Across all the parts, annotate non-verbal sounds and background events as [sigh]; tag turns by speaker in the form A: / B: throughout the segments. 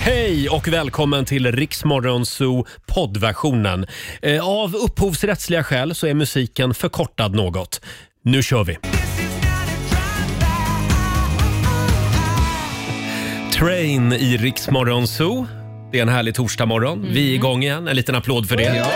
A: Hej och välkommen till Riksmorgonzoo poddversionen. Eh, Av upphovsrättsliga skäl så är musiken förkortad något. Nu kör vi! Train i Riksmorgonzoo. Det är en härlig torsdagmorgon. Vi är igång igen. En liten applåd för det.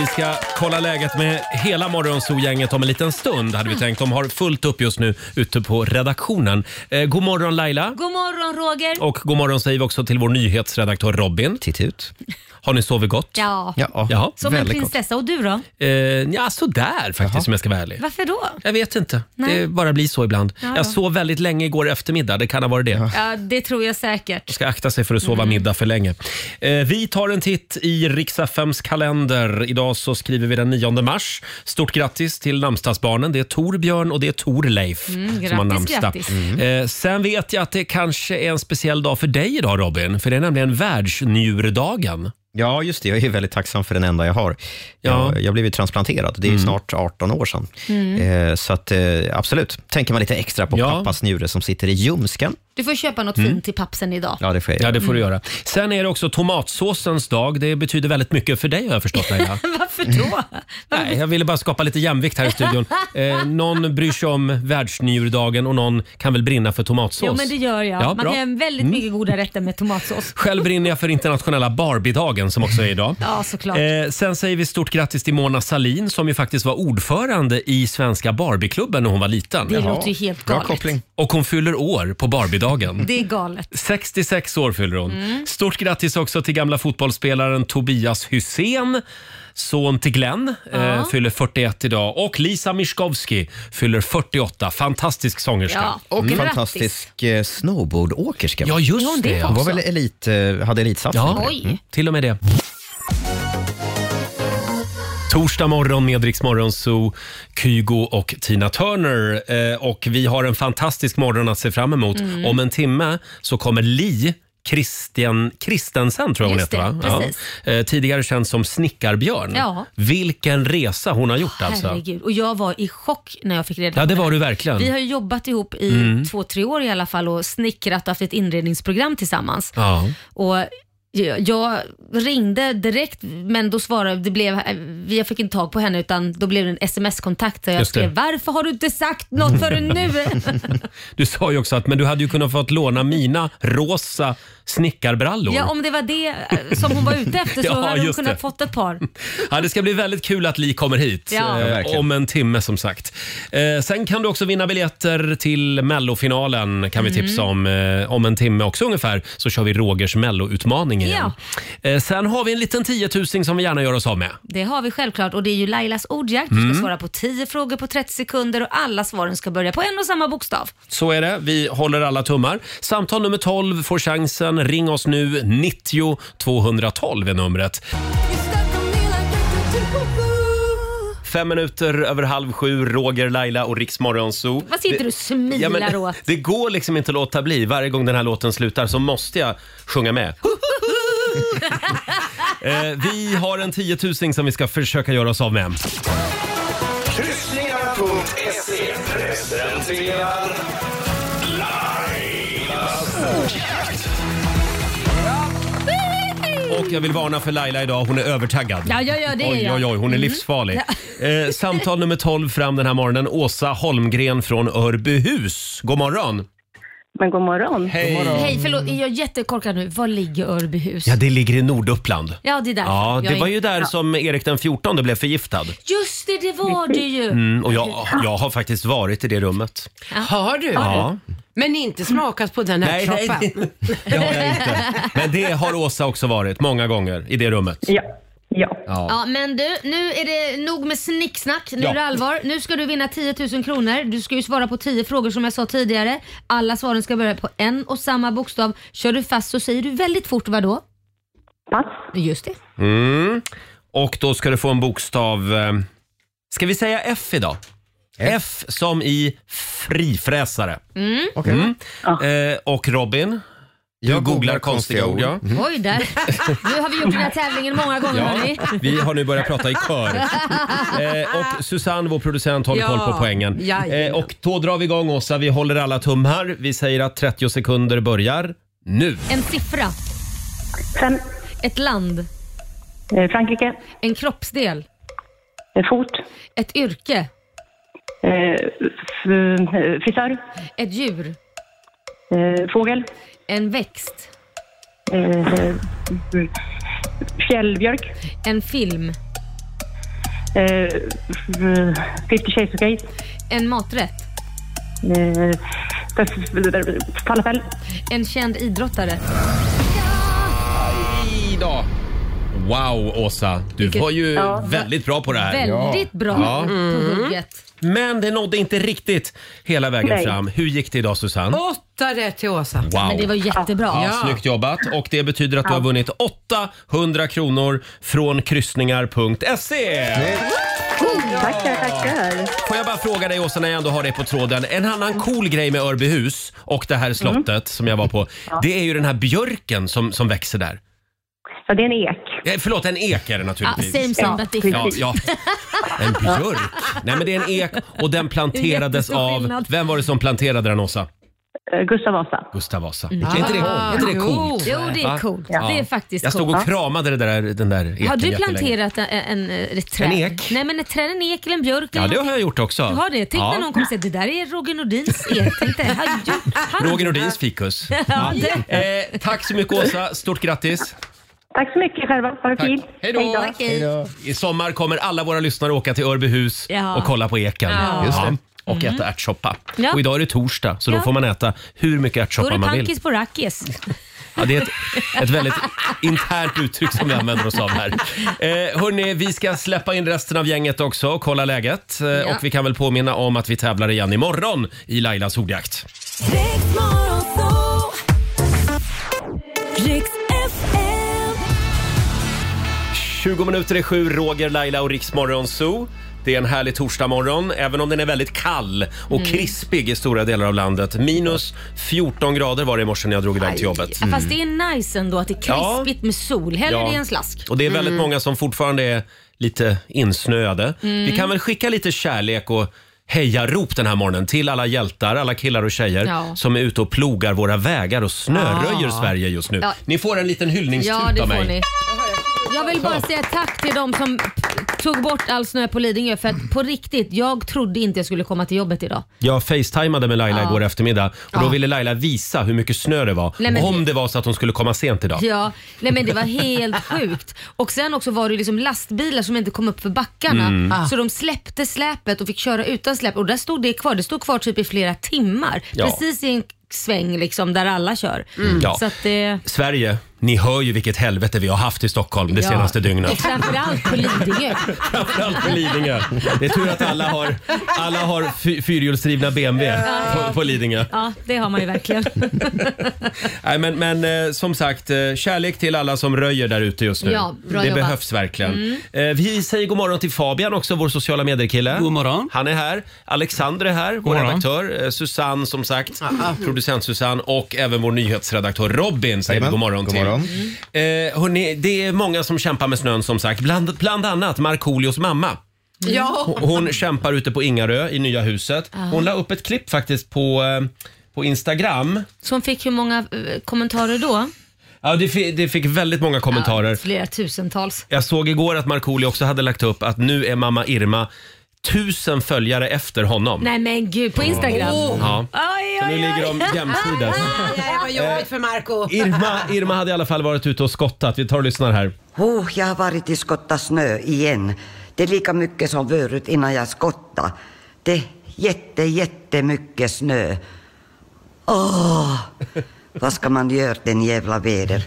A: Vi ska kolla läget med hela Morgonzoo-gänget om en liten stund hade vi tänkt. De har fullt upp just nu ute på redaktionen. Eh, god morgon Laila.
B: God morgon Roger.
A: Och god morgon säger vi också till vår nyhetsredaktör Robin.
C: Titt ut.
A: Har ni sovit gott?
B: Ja.
C: Ja,
A: Jaha.
B: Som en
C: väldigt gott.
B: prinsessa. Och du då?
A: Eh, ja, sådär faktiskt om jag ska vara ärlig.
B: Varför då?
A: Jag vet inte.
B: Nej.
A: Det bara blir så ibland.
B: Ja,
A: Jag
B: ja.
A: sov väldigt länge igår eftermiddag. Det kan ha varit det.
B: Ja, det tror jag säkert.
A: ska akta sig för att sova
B: Mm.
A: middag för länge. Eh, vi tar en titt i riks FMs kalender. Idag så skriver vi den 9 mars. Stort grattis till namnsdagsbarnen. Det är Torbjörn och det är Torleif som har
B: grattis,
A: namnsdag.
B: grattis. Mm.
A: Eh, sen vet jag att det kanske är en speciell dag för dig idag Robin, för det är nämligen världsnjurdagen.
C: Ja, just det. Jag är väldigt tacksam för den enda jag har.
A: Ja. Mm.
C: Jag, jag blev ju transplanterad. Det är ju snart 18 år sedan. Eh, så att, eh, absolut, tänker man lite extra på
A: Ja.
C: pappas njure som sitter i ljumsken.
B: Du får köpa något fint till pappsen idag. Mm.
C: Ja, det får jag
A: Ja,
C: göra.
A: det får du göra. Sen är det också tomatsåsens dag. Det betyder väldigt mycket för dig har jag förstått
B: [laughs]
A: Laila.
B: [laughs] Varför då?
A: Nej, jag ville bara skapa lite jämvikt här i studion. Eh, någon bryr sig om världsnjurdagen och någon kan väl brinna för tomatsås.
B: Jo men det gör jag.
A: Ja,
B: Man
A: bra.
B: kan göra väldigt mycket goda rätter med tomatsås.
A: Själv brinner jag för internationella Barbiedagen som också är idag.
B: Ja såklart.
A: Eh, sen säger vi stort grattis till Mona Salin som ju faktiskt var ordförande i Svenska Barbieklubben när hon var liten.
B: det låter ju helt
C: Bra
B: galet.
C: koppling.
A: Och hon fyller år på Barbiedagen.
B: Det är Mm. galet.
A: 66 år fyller hon. Stort grattis också till gamla fotbollsspelaren Tobias Hysén. Son till Glenn eh, fyller 41 idag och Lisa Miskovsky fyller 48. Fantastisk sångerska.
B: Ja.
C: Och en
B: Grattis.
C: Mm. fantastisk eh, snowboardåkerska.
A: Ja,
B: Ja,
A: just
B: det
A: det.
B: var-
C: Hon
A: Ja.
C: var väl elit, eh, hade elitsatsning?
A: Ja. Mm.
C: på det.
B: Oj.
A: Till och med det. Torsdag morgon med Rix Morgon Zoo, Kygo och Tina Turner. Eh, och vi har en fantastisk morgon att se fram emot.
B: Mm.
A: Om en timme så kommer Li Christian, Christensen tror jag hon
B: Just
A: heter
B: det,
A: va?
B: precis.
A: Eh, tidigare känd som Snickarbjörn.
B: Ja.
A: Vilken resa hon har gjort alltså.
B: Herregud. Och jag var i chock när jag fick reda på
A: Ja, det var du
B: Vi
A: verkligen.
B: har ju jobbat ihop i två, tre år i alla fall och snickrat och haft ett inredningsprogram tillsammans.
A: Ja.
B: Och jag jag ringde direkt men då svarade det blev, jag fick inte tag på henne utan då blev det en sms-kontakt där jag
A: Just det.
B: skrev “Varför har du inte sagt något
A: [laughs]
B: förrän nu?”
A: Du sa ju också att men du hade ju kunnat fått låna mina rosa snickarbrallor.
B: Ja, om det var det eh, som hon var ute efter
A: [laughs]
B: så
A: Ja,
B: hade hon
A: just
B: kunnat
A: det.
B: fått ett par.
A: Ja, det ska bli väldigt kul att Li kommer hit.
B: Ja. Ja,
A: Eh,
C: verkligen.
A: om en timme som sagt. Eh, sen kan du också vinna biljetter till mellofinalen kan vi
B: Mm.
A: tipsa om. Eh, om en timme också ungefär så kör vi Rogers melloutmaning igen. Eh, sen har vi en liten tiotusing som vi gärna gör oss av med.
B: Det har vi självklart och det är ju Lailas ordjakt. Du
A: Mm.
B: ska svara på 10 frågor på 30 sekunder och alla svaren ska börja på en och samma bokstav.
A: Så är det. Vi håller alla tummar. Samtal nummer 12 får chansen. Ring oss nu. 90 212 är numret. Fem minuter över halv sju, Roger, Laila och Riksmorgon Zoo.
B: Vad sitter du och smilar
A: Ja, men,
B: åt?
A: [laughs] Det går liksom inte att låta bli. Varje gång den här låten slutar så måste jag sjunga med.
B: [laughs]
A: eh, vi har en tiotusing som vi ska försöka göra oss av med.
D: Kryssningar.se presenterar Lailas
A: Och jag vill varna för Laila idag. Hon är övertaggad.
B: Ja, ja, ja, det är
A: Oj,
B: jag. Mm.
A: oj, oj, hon är livsfarlig. Eh, samtal nummer 12 fram den här morgonen. Åsa Holmgren från Örbyhus. God morgon!
E: Men god morgon.
B: Hej, förlåt, är jag jättekorkad nu? Var ligger Örbyhus?
A: Ja, det ligger i Norduppland.
B: Ja, det är därför.
A: Ja,
B: Jag
A: det
B: är-
A: var ju där
B: Ja.
A: som Erik den 14 blev förgiftad.
B: Just det, det var det ju.
A: Mm, och jag, jag har faktiskt varit i det rummet.
F: Har du?
A: Ja.
F: Men inte smakat på den här
A: Nej, nej,
F: soppan?
A: det- det har jag inte. Men det har Åsa också varit många gånger i det rummet.
E: Ja. Ja.
B: Ja, men du, nu är det nog med snicksnack. Nu
A: Ja.
B: är det allvar. Nu ska du vinna 10 000 kronor. Du ska ju svara på 10 frågor som jag sa tidigare. Alla svaren ska börja på en och samma bokstav. Kör du fast så säger du väldigt fort vad då?
E: Pass.
B: Just det.
A: Mm. Och då ska du få en bokstav. eh, Ska vi säga F idag? F Mm. som i frifräsare.
B: Mm.
C: Okej.
A: Eh, och Robin, du googlar konstiga ord. Mm. Ja.
B: Oj där. Nu har vi gjort den här tävlingen många gånger
A: Ja,
B: hörni.
A: vi har nu börjat prata i
B: [laughs]
A: kör. Eh, och Susanne, vår producent, håller
F: Ja.
A: koll på poängen. Eh,
F: Jajamän.
A: och då drar vi igång Åsa, vi håller alla tummar. Vi säger att 30 sekunder börjar nu.
B: En siffra.
E: Fem.
B: Ett land.
E: Eh, Frankrike.
B: En kroppsdel.
E: Eh, Fot.
B: Ett yrke.
E: Eh, f- eh, Frisör.
B: Ett djur.
E: Eh, Fågel.
B: En växt.
E: Eh, eh, Fjällbjörk.
B: En film.
E: Eh, f- Fifty Shades of Grey.
B: En maträtt.
E: Eh, f- Falafel.
B: En känd idrottare.
A: Idag. Wow, Åsa. Du var ju väldigt bra på det här.
B: Väldigt [laughs] bra Mm.
A: Ja. Mm.
B: på hugget.
A: Men det nådde inte riktigt hela vägen
E: Nej.
A: fram. Hur gick det idag, Susanne?
F: Åtta rätt till Åsa.
A: Mm. Wow.
B: Men det var jättebra.
A: Ja, Snyggt jobbat. Och det betyder att du har vunnit 800 kronor från kryssningar.se.
E: Tackar, tackar.
A: Får jag bara fråga dig Åsa när jag ändå har dig på tråden. En annan cool grej med Örbyhus och det här slottet
B: Mm.
A: som jag var på. Det är ju den här björken som, som växer där.
E: Ja, det är en ek.
A: Eh, förlåt, en ek är det
B: Ah,
A: naturligtvis.
B: same sound but different.
A: Ja, ja. En björk. Nej men det är en ek och den planterades
B: Det är en jättestor
A: av...
B: skillnad.
A: Vem var det som planterade den Åsa?
E: Eh, Gustav Vasa.
A: Gustav Vasa. Är inte det, är inte det
F: jo.
A: coolt?
B: Mm. Ah. Jo, det
A: Va?
B: är coolt.
A: Ja.
B: Det är faktiskt
A: Jag stod
B: coolt.
A: och kramade det där, den där eken
B: Har du
A: jättelänge.
B: planterat en, en, en, ett träd?
A: En ek.
B: Nej, men ett träd, en ek eller en björk.
A: Ja,
B: eller
A: det har jag
B: någonting.
A: gjort också.
B: Du har det? Tänk
A: ja.
B: när någon kommer säga det där är Roger Nordins ek. Tänk dig, han gjort- han-
A: Roger Nordins fikus.
B: [laughs] Ja, det-
A: Eh, tack så mycket Åsa, stort grattis.
E: Tack så mycket själva. Ha det
A: Tack.
E: fint.
A: Hej då.
B: Okej.
A: I sommar kommer alla våra lyssnare åka till Örbyhus
B: Ja.
A: och kolla på eken.
B: Ja. Mm.
C: Just det.
A: Och äta ärtsoppa.
B: Ja.
A: Och idag är det torsdag så då
B: Ja.
A: får man äta hur mycket
B: Då
A: ärtsoppa
B: är det
A: man vill.
B: pankis på rackis.
A: Ja, det är ett, ett
B: [laughs]
A: väldigt internt uttryck som vi använder oss av här. Eh, hörni, vi ska släppa in resten av gänget också och kolla läget. Eh, Och vi kan väl påminna om att vi tävlar igen imorgon i Lailas ordjakt.
G: Riks FM.
A: 20 minuter i sju, Roger, Laila och Riksmorgon Zoo. Det är en härlig torsdagmorgon, även om den är väldigt kall och
B: Mm.
A: krispig i stora delar av landet. Minus 14 grader var det i morse när jag drog iväg till jobbet. Mm.
B: Ja, Fast det är nice ändå att det är
A: Ja.
B: krispigt med sol. Hellre det i en slask. Mm.
A: Och det är väldigt många som fortfarande är lite insnöade.
B: Mm.
A: Vi kan väl skicka lite kärlek och hejarop den här morgonen till alla hjältar, alla killar och tjejer
B: Ja. Ah.
A: som är ute och plogar våra vägar och snöröjer Sverige just nu.
B: Ja.
A: Ni får en liten hyllningstut
B: Ja, det
A: av mig.
B: får ni. Jag vill bara säga tack till de som tog bort all snö på Lidingö för att på riktigt, jag trodde inte jag skulle komma till jobbet idag.
A: Jag facetimade med Laila
B: Ja.
A: igår eftermiddag och då
B: Ja.
A: ville Laila visa hur mycket snö det var.
B: Nej, men
A: om
B: det-
A: det var så att hon skulle komma sent idag.
B: Ja, nej men det var helt [laughs] sjukt. Och sen också var det ju liksom lastbilar som inte kom upp för backarna.
A: Mm.
B: Så de släppte släpet och fick köra utan släp och där stod det kvar. Det stod kvar typ i flera timmar.
A: Ja. Mm.
B: Precis i en sväng liksom där alla kör.
A: Ja.
B: Så att eh, det...
A: Sverige, ni hör ju vilket helvete vi har haft i Stockholm det
B: ja.
A: senaste
B: Och
A: dygnet.
B: framförallt på Lidingö.
A: [laughs] Framförallt på Lidingö. Det är tur att alla har, alla har fy- fyrhjulsdrivna BMW på, på Lidingö.
B: Ja, det har man ju verkligen.
A: Nej, men, men eh, som sagt, eh, kärlek till alla som röjer där ute just nu.
B: Ja, bra
A: det
B: jobbat. Mm.
A: behövs verkligen. Eh, vi säger god morgon till Fabian också, vår sociala medier-kille.
H: God morgon.
A: Han är här. Alexander är här, vår
H: morgon.
A: redaktör. Eh, Susanne, som sagt.
H: Ah,
A: Producent Susanne och även vår nyhetsredaktör Robin säger vi
C: Jajamän.
A: god morgon
C: God
A: till.
C: morgon.
A: Eh, hörni, det är många som kämpar med snön som sagt. Bland, bland annat Markoolios mamma.
B: Mm.
F: Ja.
A: Hon kämpar ute på Ingarö i nya huset.
B: Ah.
A: Hon la upp ett klipp faktiskt på, eh, på Instagram.
B: Som fick hur många eh, kommentarer då?
A: Ja, det, fi- det fick väldigt många kommentarer.
B: Flera tusentals.
A: Jag såg igår att Markoolio också hade lagt upp att nu är mamma Irma tusen följare efter honom.
B: Nej men gud, på Instagram.
A: Ja.
B: Oj,
A: Så
B: oj,
A: nu
B: oj.
A: ligger de jämsides. Eh,
F: Det var jobbigt för Marco
A: Irma, Irma hade i alla fall varit ute och skottat. Vi tar och lyssnar här.
I: Oh, jag har varit i skotta snö igen. Det är lika mycket som förut innan jag skottade. Det är jätte, jättemycket snö. Åh! Vad ska man göra den jävla väder?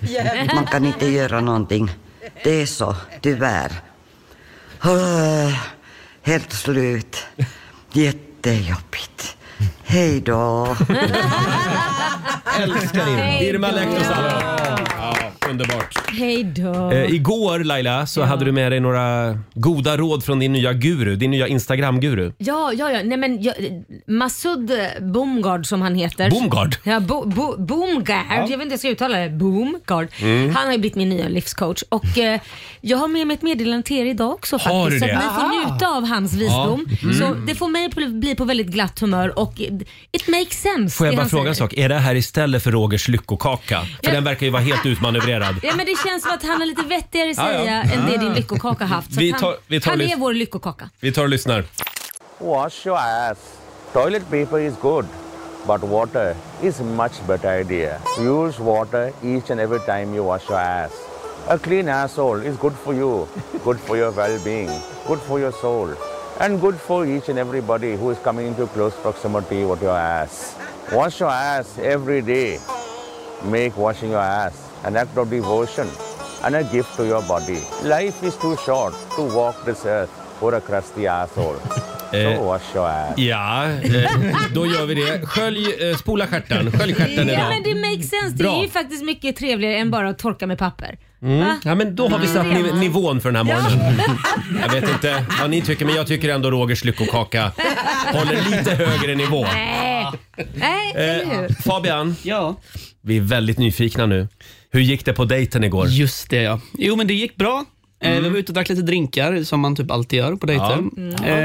I: Man kan inte göra någonting. Det är så, tyvärr. Åh, helt slut. Jättejobbigt. Hej då.
H: Oh.
A: Älskar Irma. Irma Lektos alla. Ja. Underbart.
B: Hej då.
A: Eh, igår Laila så hade du med dig några goda råd från din nya guru, din nya Instagram-guru.
B: Ja, ja, ja. Nej, men jag, Masud Boomgard som han heter.
A: Boomgard?
B: Ja, bo, bo, Boomgard. Jag vet inte hur jag ska uttala det. Boomgard.
A: Mm.
B: Han har ju blivit min nya livscoach. Och eh, jag har med mig ett meddelande till er idag också
A: Har
B: faktiskt.
A: du
B: Så att
A: det? Mm.
B: ni får njuta av hans visdom. Så det får mig på- bli på väldigt glatt humör och it- it makes sense.
A: Får jag
B: det
A: bara
B: han
A: fråga en
B: säger.
A: sak? Är det här istället för Rogers lyckokaka? För
B: Ja.
A: den verkar ju vara helt utmanövrerad.
B: Ja, men det känns som att han har lite vettigare
A: Ja, ja.
B: säga än det din lyckokaka haft. Så
A: Vi
B: att
A: tar-
B: han,
A: vi tar
B: han
A: lite-
B: är vår lyckokaka.
A: Vi tar och lyssnar.
H: Wash your ass. Toilet paper is good, but water is much better idea. Use water each and every time you wash your ass. A clean asshole is good for you, good for your well-being, good for your soul, and good for each and everybody who is coming into close proximity with your ass. Wash your ass every day. Make washing your ass an act of devotion and a gift to your body. Life is too short to walk this earth for a crusty asshole. so wash your ass.
A: Ja, eh, då gör vi det. Skölj, eh, spola stjärten. Skölj stjärten
B: Ja,
A: idag.
B: men det makes sense. Det
A: Bra.
B: är ju faktiskt mycket trevligare än bara att torka med papper.
A: Mm. Ja, men då har vi satt niv- nivån för den här
B: [laughs]
A: morgonen. Jag vet inte vad ni tycker, men jag tycker ändå Rogers lyckokaka håller lite högre nivå.
B: Nej, Nej eller hur?
A: Eh, Fabian,
J: Ja,
A: vi är väldigt nyfikna nu. Hur gick det på dejten igår?
J: just det ja. Jo, men det gick bra. Eh,
A: Mm.
J: Vi var ute och drack lite drinkar, som man typ alltid gör på dejter.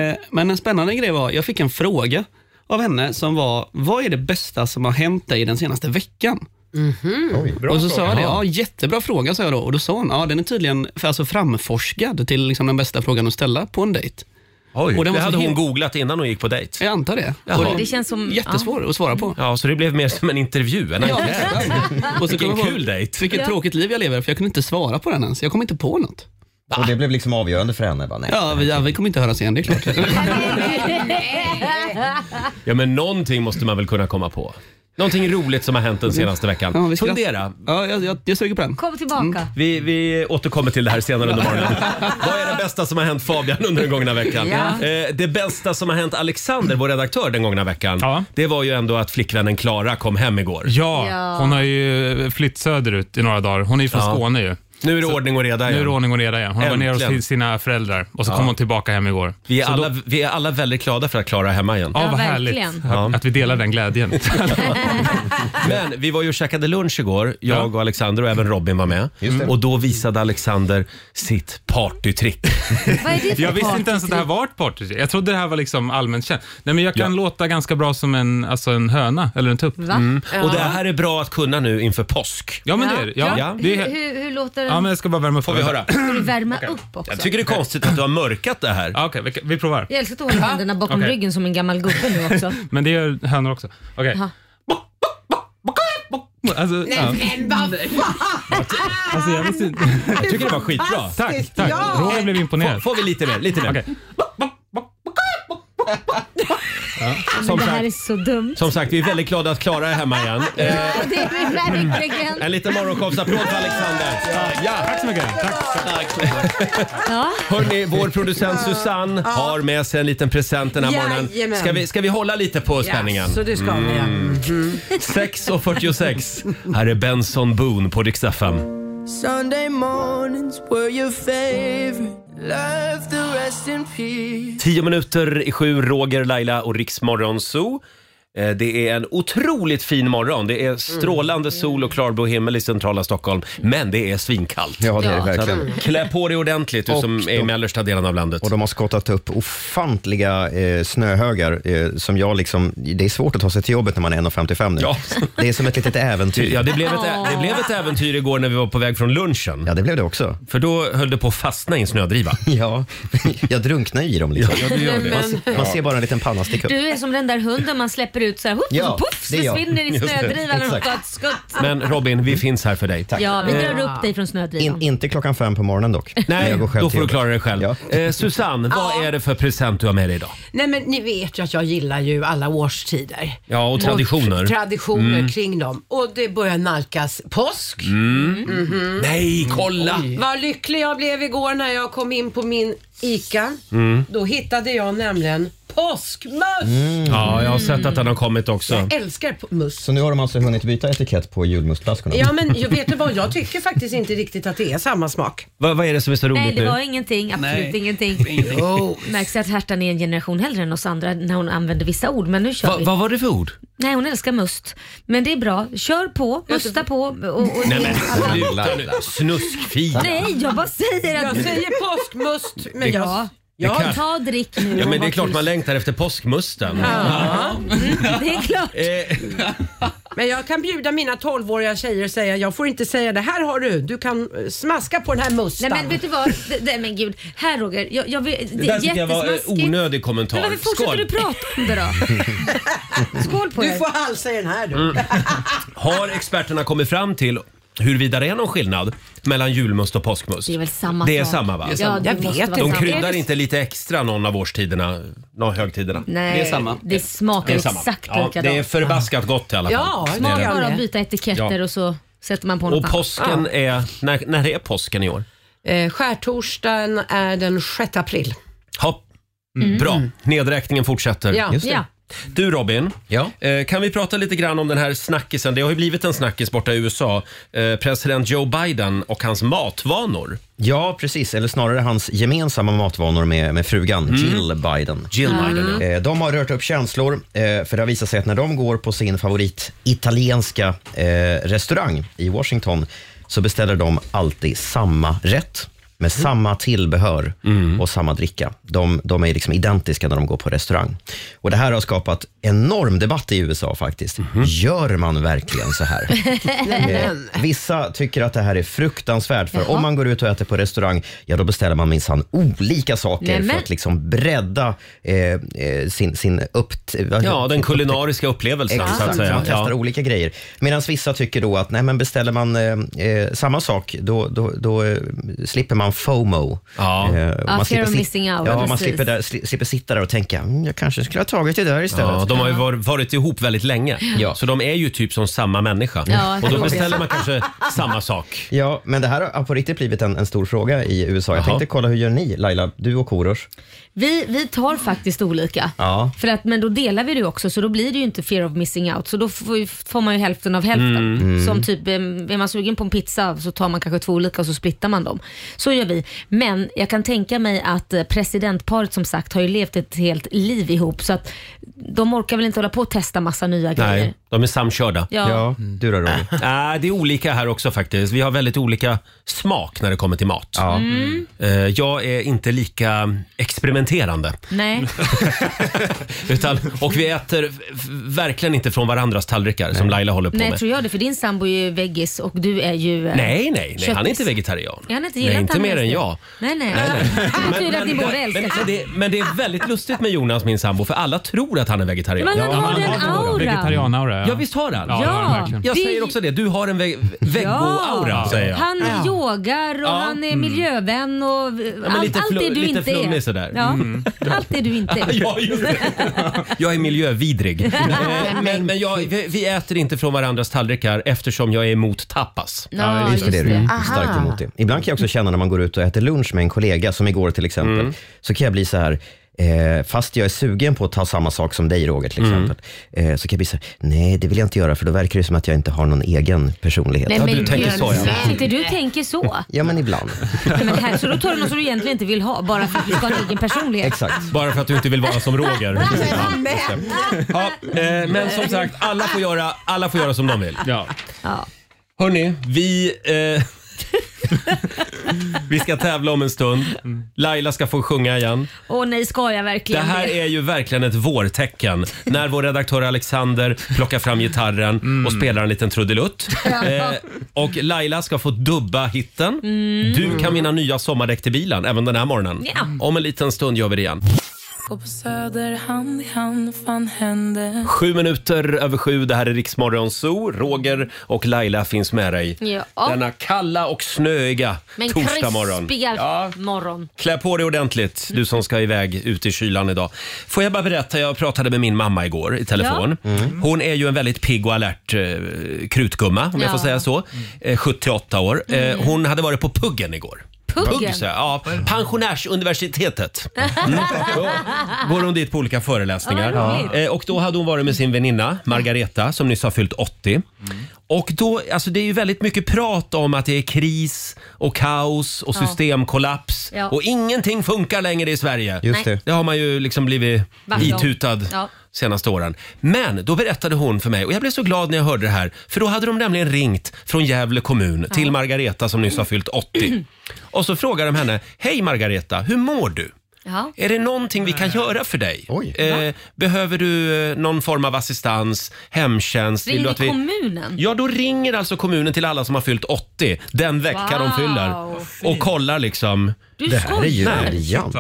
J: Eh, Men en spännande grej var, jag fick en fråga av henne som var, vad är det bästa som har hänt dig den senaste veckan?
F: Mhm.
J: och så sa jag det, ja jättebra fråga sa jag då. Och då sa hon, ja den är tydligen för, alltså, framforskad till liksom, den bästa frågan att ställa på en dejt.
A: Oj,
J: Och den
A: det
J: var så
A: hade hon
J: him-
A: googlat innan hon gick på dejt.
J: Jag antar det.
A: Jaha.
J: Och
B: Det känns som-
J: Jättesvår att svara på.
A: Ja, så det blev mer som en intervju. En enkät.
C: [laughs]
J: och så kom
A: Vilken
J: jag på,
A: kul dejt.
J: Vilket
B: Ja.
J: tråkigt liv jag lever, för jag kunde inte svara på den ens. Jag kom inte på något.
C: Och det blev liksom avgörande för henne. Bara, nej.
J: Ja, vi, ja, vi kommer inte höras igen, det är
C: [laughs]
J: klart.
A: Ja, men någonting måste man väl kunna komma på. Någonting roligt som har hänt den senaste veckan.
J: Ja, vi ska-
A: Fundera.
J: Ja, jag, jag, jag suger på den.
B: Kom tillbaka.
A: Vi, vi återkommer till det här senare under
B: [laughs]
A: morgonen. Vad är det bästa som har hänt Fabian under den gångna veckan?
F: Ja.
A: Eh, det bästa som har hänt Alexander, vår redaktör, den gångna veckan.
K: Ja.
A: Det var ju ändå att flickvännen Klara kom hem igår.
K: Ja,
B: Ja.
K: hon har ju flytt söderut i några dagar. Hon är ju från
A: Ja.
K: Skåne ju.
A: Nu är det ordning och reda
K: Nu är
A: igen.
K: det ordning och reda igen. Hon var nere hos sin-
A: Äntligen.
K: sina föräldrar och så kom hon tillbaka hem igår.
A: Vi är, alla, vi är alla väldigt glada för att Klara är hemma igen.
K: Ja,
B: Ja,
K: vad
B: verkligen.
K: härligt att, att vi delar den
A: [laughs]
K: glädjen.
A: Men vi var ju och käkade lunch igår, jag och Alexander och även Robin var med. Och då visade Alexander sitt partytrick.
B: Vad är det för
K: jag visste inte ens att det här
B: partytrick?
K: var ett partytrick. Jag trodde det här var liksom allmänt känt. Nej, men jag kan låta ganska bra som en, alltså en höna eller en tupp. Mm.
B: Va?
A: Och det här är bra att kunna nu inför påsk.
K: Ja, men det är det. Ja,
A: Ja.
K: det. Är,
B: Hur,
K: he-
B: hur, hur låter den?
K: ja, men jag ska bara värma
A: Får vi höra?
B: Ska du värma upp också?
A: Jag tycker det är konstigt att du har mörkat det här.
K: Ja, Okej, vi, vi provar.
B: Jag älskar att du håller händerna bakom
K: Okej.
B: ryggen som en gammal gubbe nu också.
K: Men det gör hönor också. Okej.
B: Jaha.
K: Alltså, ja.
F: Men vad
K: alltså, jag visste inte.
A: Jag tycker det var skitbra.
K: Tack, tack. Roger blev
A: Får,
K: imponerad.
A: får vi lite mer? Lite mer.
K: Okej.
A: Som,
B: Det här är
A: sagt,
B: så dumt.
A: som sagt, vi är väldigt glada att Klara är hemma igen. Eh,
B: Ja, det är vi verkligen.
A: en liten morgonshowsapplåd för Alexander. Ja.
K: Tack så mycket. Tack.
B: Ja.
A: Hörni, vår producent Susanne har med sig en liten present den här morgonen.
F: Jajamän.
A: Ska vi, ska vi hålla lite på spänningen? Mm.
F: Så det ska vi ja.
A: 6.46. Här är Benson Boone på Rix FM. Tio minuter i sju, Roger, Laila och Riksmorgon Zoo. Eh, Det är en otroligt fin morgon. Det är strålande
B: Mm.
A: sol och klarblå himmel i centrala Stockholm. Men det är svinkallt.
C: Ja, det är det
B: Ja.
C: verkligen.
A: Klä på dig ordentligt, du
C: Och
A: som är i
C: då-
A: mellersta delen av landet.
C: Och de har skottat upp ofantliga eh, snöhögar eh, som jag liksom, det är svårt att ta sig till jobbet när man är 1,55 nu.
A: Ja.
C: Det är som ett litet äventyr.
A: Ja, det blev, ett, ä- det blev ett äventyr igår när vi var på väg från lunchen.
C: Ja, det blev det också.
A: För då höll det på att fastna i en snödriva.
C: [laughs] Ja, jag drunknar i dem liksom.
A: Ja, du gör det.
C: Man, se- man ser bara en liten panna sticka upp.
B: Du är som den där hunden man släpper ut så här, hopp,
C: Ja,
B: och så puff,
C: det är jag.
B: försvinner i
A: Just det.
B: snödrivan när de
C: Exakt.
B: tar ett skutt.
A: Men Robin, vi finns här för dig. Eh,
B: Ja, vi drar upp dig från snödrivan.
C: In, inte klockan fem på morgonen dock. Men
A: Nej,
C: jag går själv
A: då
C: till
A: får du
C: jobbet.
A: klara dig själv.
C: Ja.
A: Eh, Susanne, vad är det för present du har med dig idag?
F: Nej men ni vet ju att jag gillar ju alla årstider.
A: Ja, och traditioner. Mm.
F: Och traditioner kring dem. Och det börjar nalkas påsk.
A: Mm.
B: Mm.
A: Nej, kolla!
F: Mhm. Vad
A: Mm.
F: lycklig jag blev igår när jag kom in på min ICA. Då hittade jag nämligen Påskmöss!
A: Ja, jag har sett att den har kommit också.
F: Jag älskar p- möss.
C: Mm. Så nu har de alltså hunnit byta etikett på julmustflaskorna?
F: Ja men jag vet du vad, jag tycker faktiskt inte riktigt att det är samma smak.
A: [laughs] Vad, vad är det som är så roligt
B: Nej, det var
A: nu?
B: ingenting. Absolut
F: [laughs]
A: Nej.
B: ingenting.
A: Jo.
B: [laughs] Märks att Hertan är en generation hellre än oss andra när hon använder vissa ord. Men nu kör
A: Va,
B: vi.
A: vad var det för ord?
B: Nej, hon älskar must. Men det är bra. Kör på, musta på. Och, och
A: Nej men
B: alla-
A: sluta nu. Snuskfina.
B: Nej, jag bara säger att...
F: Jag säger påskmust, men jag-
B: Ja.
A: Det kan-
B: ta drick nu.
A: Ja men
B: och
A: det
B: var
A: är klart
B: tyst.
A: man längtar efter påskmusten.
F: Ja.
B: Det är klart.
A: Eh,
F: Men jag kan bjuda mina 12-åriga tjejer och säga jag får inte säga det här har du, du kan eh, smaska på den här mustan.
B: Nej men vet du vad? Det, det, men gud. Här Roger, jag, jag, vet- det,
A: det
B: är
A: där tycker jag var eh,
B: jättesmaskigt.
A: onödig
B: Men
A: kommentar.
B: varför fortsätter du prata om det då? Skål på
F: Du
B: er.
F: får halsa i den här du.
A: Mm. Har experterna kommit fram till huruvida det är någon skillnad mellan julmust och påskmust?
B: Det är väl samma
A: Det är
B: sak.
A: samma va?
B: Ja, det Jag måste vet vara inte.
A: De
B: samma.
A: kryddar inte lite extra någon av årstiderna, någon av högtiderna?
B: Nej, det, smakar
A: Det är samma.
B: exakt
A: ja,
B: likadant.
A: Det är förbaskat gott i alla fall.
B: Ja,
A: Det är
B: smart
A: det.
B: bara att byta etiketter
A: Ja.
B: och så sätter man på något
A: Och påsken
B: annat.
A: är, när, när är påsken i år?
F: Eh, skärtorsdagen är den 6 april.
A: Hopp. Mm.
B: Mm.
A: Bra, nedräkningen fortsätter.
F: Ja. Just det. Ja.
A: Du Robin, eh, kan vi prata lite grann om den här snackisen? Det har ju blivit en snackis borta i USA. Eh, president Joe Biden och hans matvanor.
C: Ja, precis. Eller snarare hans gemensamma matvanor med, med frugan Jill Biden.
A: Mm. Jill Biden, ja.
C: Eh, De har rört upp känslor, eh, för det har visat sig att när de går på sin favorit italienska eh, restaurang i Washington så beställer de alltid samma rätt med
A: Mm.
C: samma tillbehör och samma dricka. De, de är liksom identiska när de går på restaurang. Och Det här har skapat enorm debatt i USA faktiskt.
A: Mhm.
C: Gör man verkligen så här?
A: Mm.
B: [laughs]
C: Eh, Vissa tycker att det här är fruktansvärt, för om man går ut och äter på restaurang, ja då beställer man minsann olika saker
A: Nämen.
C: för att liksom bredda eh, eh, sin, sin upp...
A: Ja, den kulinariska upplevelsen
C: Exakt,
A: så att säga.
C: man testar
A: Ja.
C: olika grejer. Medan vissa tycker då att nej, men beställer man eh, eh, samma sak, då, då, då eh, slipper man FOMO. Eh, Ja.
B: Ja, fear of missing out,
C: Ja, man
B: precis.
C: slipper, där, sli- slipper sitta där och tänka, mm, jag kanske skulle ha tagit det där istället.
A: Ja, de har ju var- varit ihop väldigt länge, så de är ju typ som samma människa.
C: Ja,
A: och då
C: förmodligen.
A: beställer man kanske
B: [laughs]
A: samma sak.
C: Ja, men det här har på riktigt blivit en, en stor fråga i USA. Jag tänkte kolla, hur gör ni Laila, du och Korosh?
B: Vi, vi tar faktiskt olika.
C: Ja.
B: För att, men då delar vi det också så då blir det ju inte fear of missing out. Så då får, ju- får man ju hälften av hälften.
L: Mm. Mm.
B: Som typ, eh, är man sugen på en pizza så tar man kanske två olika och så splittar man dem. Så gör vi. Men jag kan tänka mig att eh, presidentparet som sagt har ju levt ett helt liv ihop så att de orkar väl inte hålla på och testa massa nya grejer.
A: Nej, de är samkörda.
B: Ja. Ja,
C: du
A: [laughs]
C: då Roger?
A: Nej, det är olika här också faktiskt. Vi har väldigt olika smak när det kommer till mat.
B: Mm.
A: Eh, Jag är inte lika experimenterande.
B: Nej.
A: Utan, och vi äter f- f- verkligen inte från varandras tallrikar som Laila håller på
B: Nej,
A: med.
B: tror jag det. För din sambo är ju veggis och du är ju... eh,
A: Nej, nej, nej. Han är
B: köttis.
A: inte vegetarian.
B: Är han inte
A: nej,
B: gillat
A: inte
B: han
A: mer
B: helst
A: än
B: det?
A: jag.
B: Nej, nej.
A: Nej, nej.
B: Det betyder att ni båda
A: men,
B: älskar
A: men, [laughs] det, men det
B: Ah.
A: är väldigt lustigt med Jonas, min sambo, för alla tror att han är vegetarian.
B: Men han Ja, har han den har den auran. auran.
K: Vegetarian-aura,
A: Ja.
K: ja.
A: visst har han?
K: Ja, det har han Ja. verkligen.
A: Jag
K: Det är
A: säger
K: ju-
A: också det. Du har en ve- veggo-aura, säger jag.
B: Han yogar och
A: Ja.
B: han är
A: Mm.
B: miljövän och
A: men
B: allt-
A: lite
B: allt det
A: flu-
B: du
A: lite
B: inte är.
A: flummig sådär.
B: Ja.
A: Mm.
B: Allt det du inte är.
A: [laughs] Ja, just [laughs] Jag är miljövidrig. Eh, men men jag, vi, vi äter inte från varandras tallrikar eftersom jag är emot tapas.
B: Ja, Ja, just just det. det.
C: Mm,
B: Aha.
C: Starkt emot det. Ibland kan jag också känna när man går ut och äter lunch med en kollega, som igår till exempel,
A: Mm.
C: så kan jag bli så här, eh, fast jag är sugen på att ta samma sak som dig Roger till
A: Mm.
C: exempel, eh, så kan jag bli så här, nej det vill jag inte göra för då verkar det som att jag inte har någon egen personlighet.
B: Nej, men gud, Inte du tänker så.
C: Ja men ibland.
B: Men här, så då tar du någon som du egentligen inte vill ha bara för att du ska ha en egen personlighet.
A: Bara för att du inte vill vara som Roger.
B: [laughs] Men-
A: Ja, eh, men som sagt, alla får göra, alla får göra som de vill. Ja.
B: Ja.
A: Hörni, vi... Eh, [laughs] vi ska tävla om en stund. Laila ska få sjunga igen.
B: Åh nej, ska jag
A: Det
B: verkligen
A: här är ju verkligen ett vårtecken. När vår redaktör Alexander plockar fram gitarren och spelar en liten trudelutt.
B: Ja.
A: Eh, och Laila ska få dubba hitten.
B: Mm.
A: Du kan vinna nya sommardäck till bilen även den här morgonen.
G: Ja.
A: Om en liten stund gör vi det igen.
G: Gå på Söder hand i hand, fan hände?
A: Sju minuter över sju, det här är Riksmorgon Zoo. Roger och Laila finns med dig.
B: Ja.
A: Denna kalla och snöiga
B: Men
A: torsdag morgon.
B: krispiga morgon.
A: Klä på dig ordentligt, du som ska iväg ut i kylan idag. Får jag bara berätta, jag pratade med min mamma igår i telefon.
B: Mm.
A: Hon är ju en väldigt pigg och alert eh, krutgumma, om jag
B: Ja. Mm.
A: får säga så. Eh, 78 år. Eh, hon hade varit på puggen igår.
B: Puggen.
A: Pugg, så här. ja. Pensionärsuniversitetet. Går hon dit på olika föreläsningar.
D: Ja, vad roligt.
A: Eh, Och då hade hon varit med sin väninna Margareta som nyss har fyllt 80.
B: Mm.
A: Och då, alltså det är ju väldigt mycket prat om att det är kris och kaos och
B: Ja.
A: systemkollaps
B: Ja.
A: och ingenting funkar längre i Sverige.
B: Just Nej. det.
A: har man ju liksom blivit
B: Varse om.
A: itutad
B: Ja.
A: senaste åren. Men då berättade hon för mig och jag blev så glad när jag hörde det här för då hade de nämligen ringt från Gävle kommun till Margareta som nyss har fyllt
B: [clears throat]
A: 80. Och så frågar de henne, hej Margareta, hur mår du?
B: Ja.
A: Är det någonting vi kan göra för dig? Eh, behöver du eh, någon form av assistans, hemtjänst?
B: Ringde
A: du att vi-
B: kommunen?
A: Ja, då ringer alltså kommunen till alla som har fyllt 80 den vecka de
B: Wow.
A: fyller och kollar liksom.
B: Du Det här är ju skojar. briljant.
A: briljant.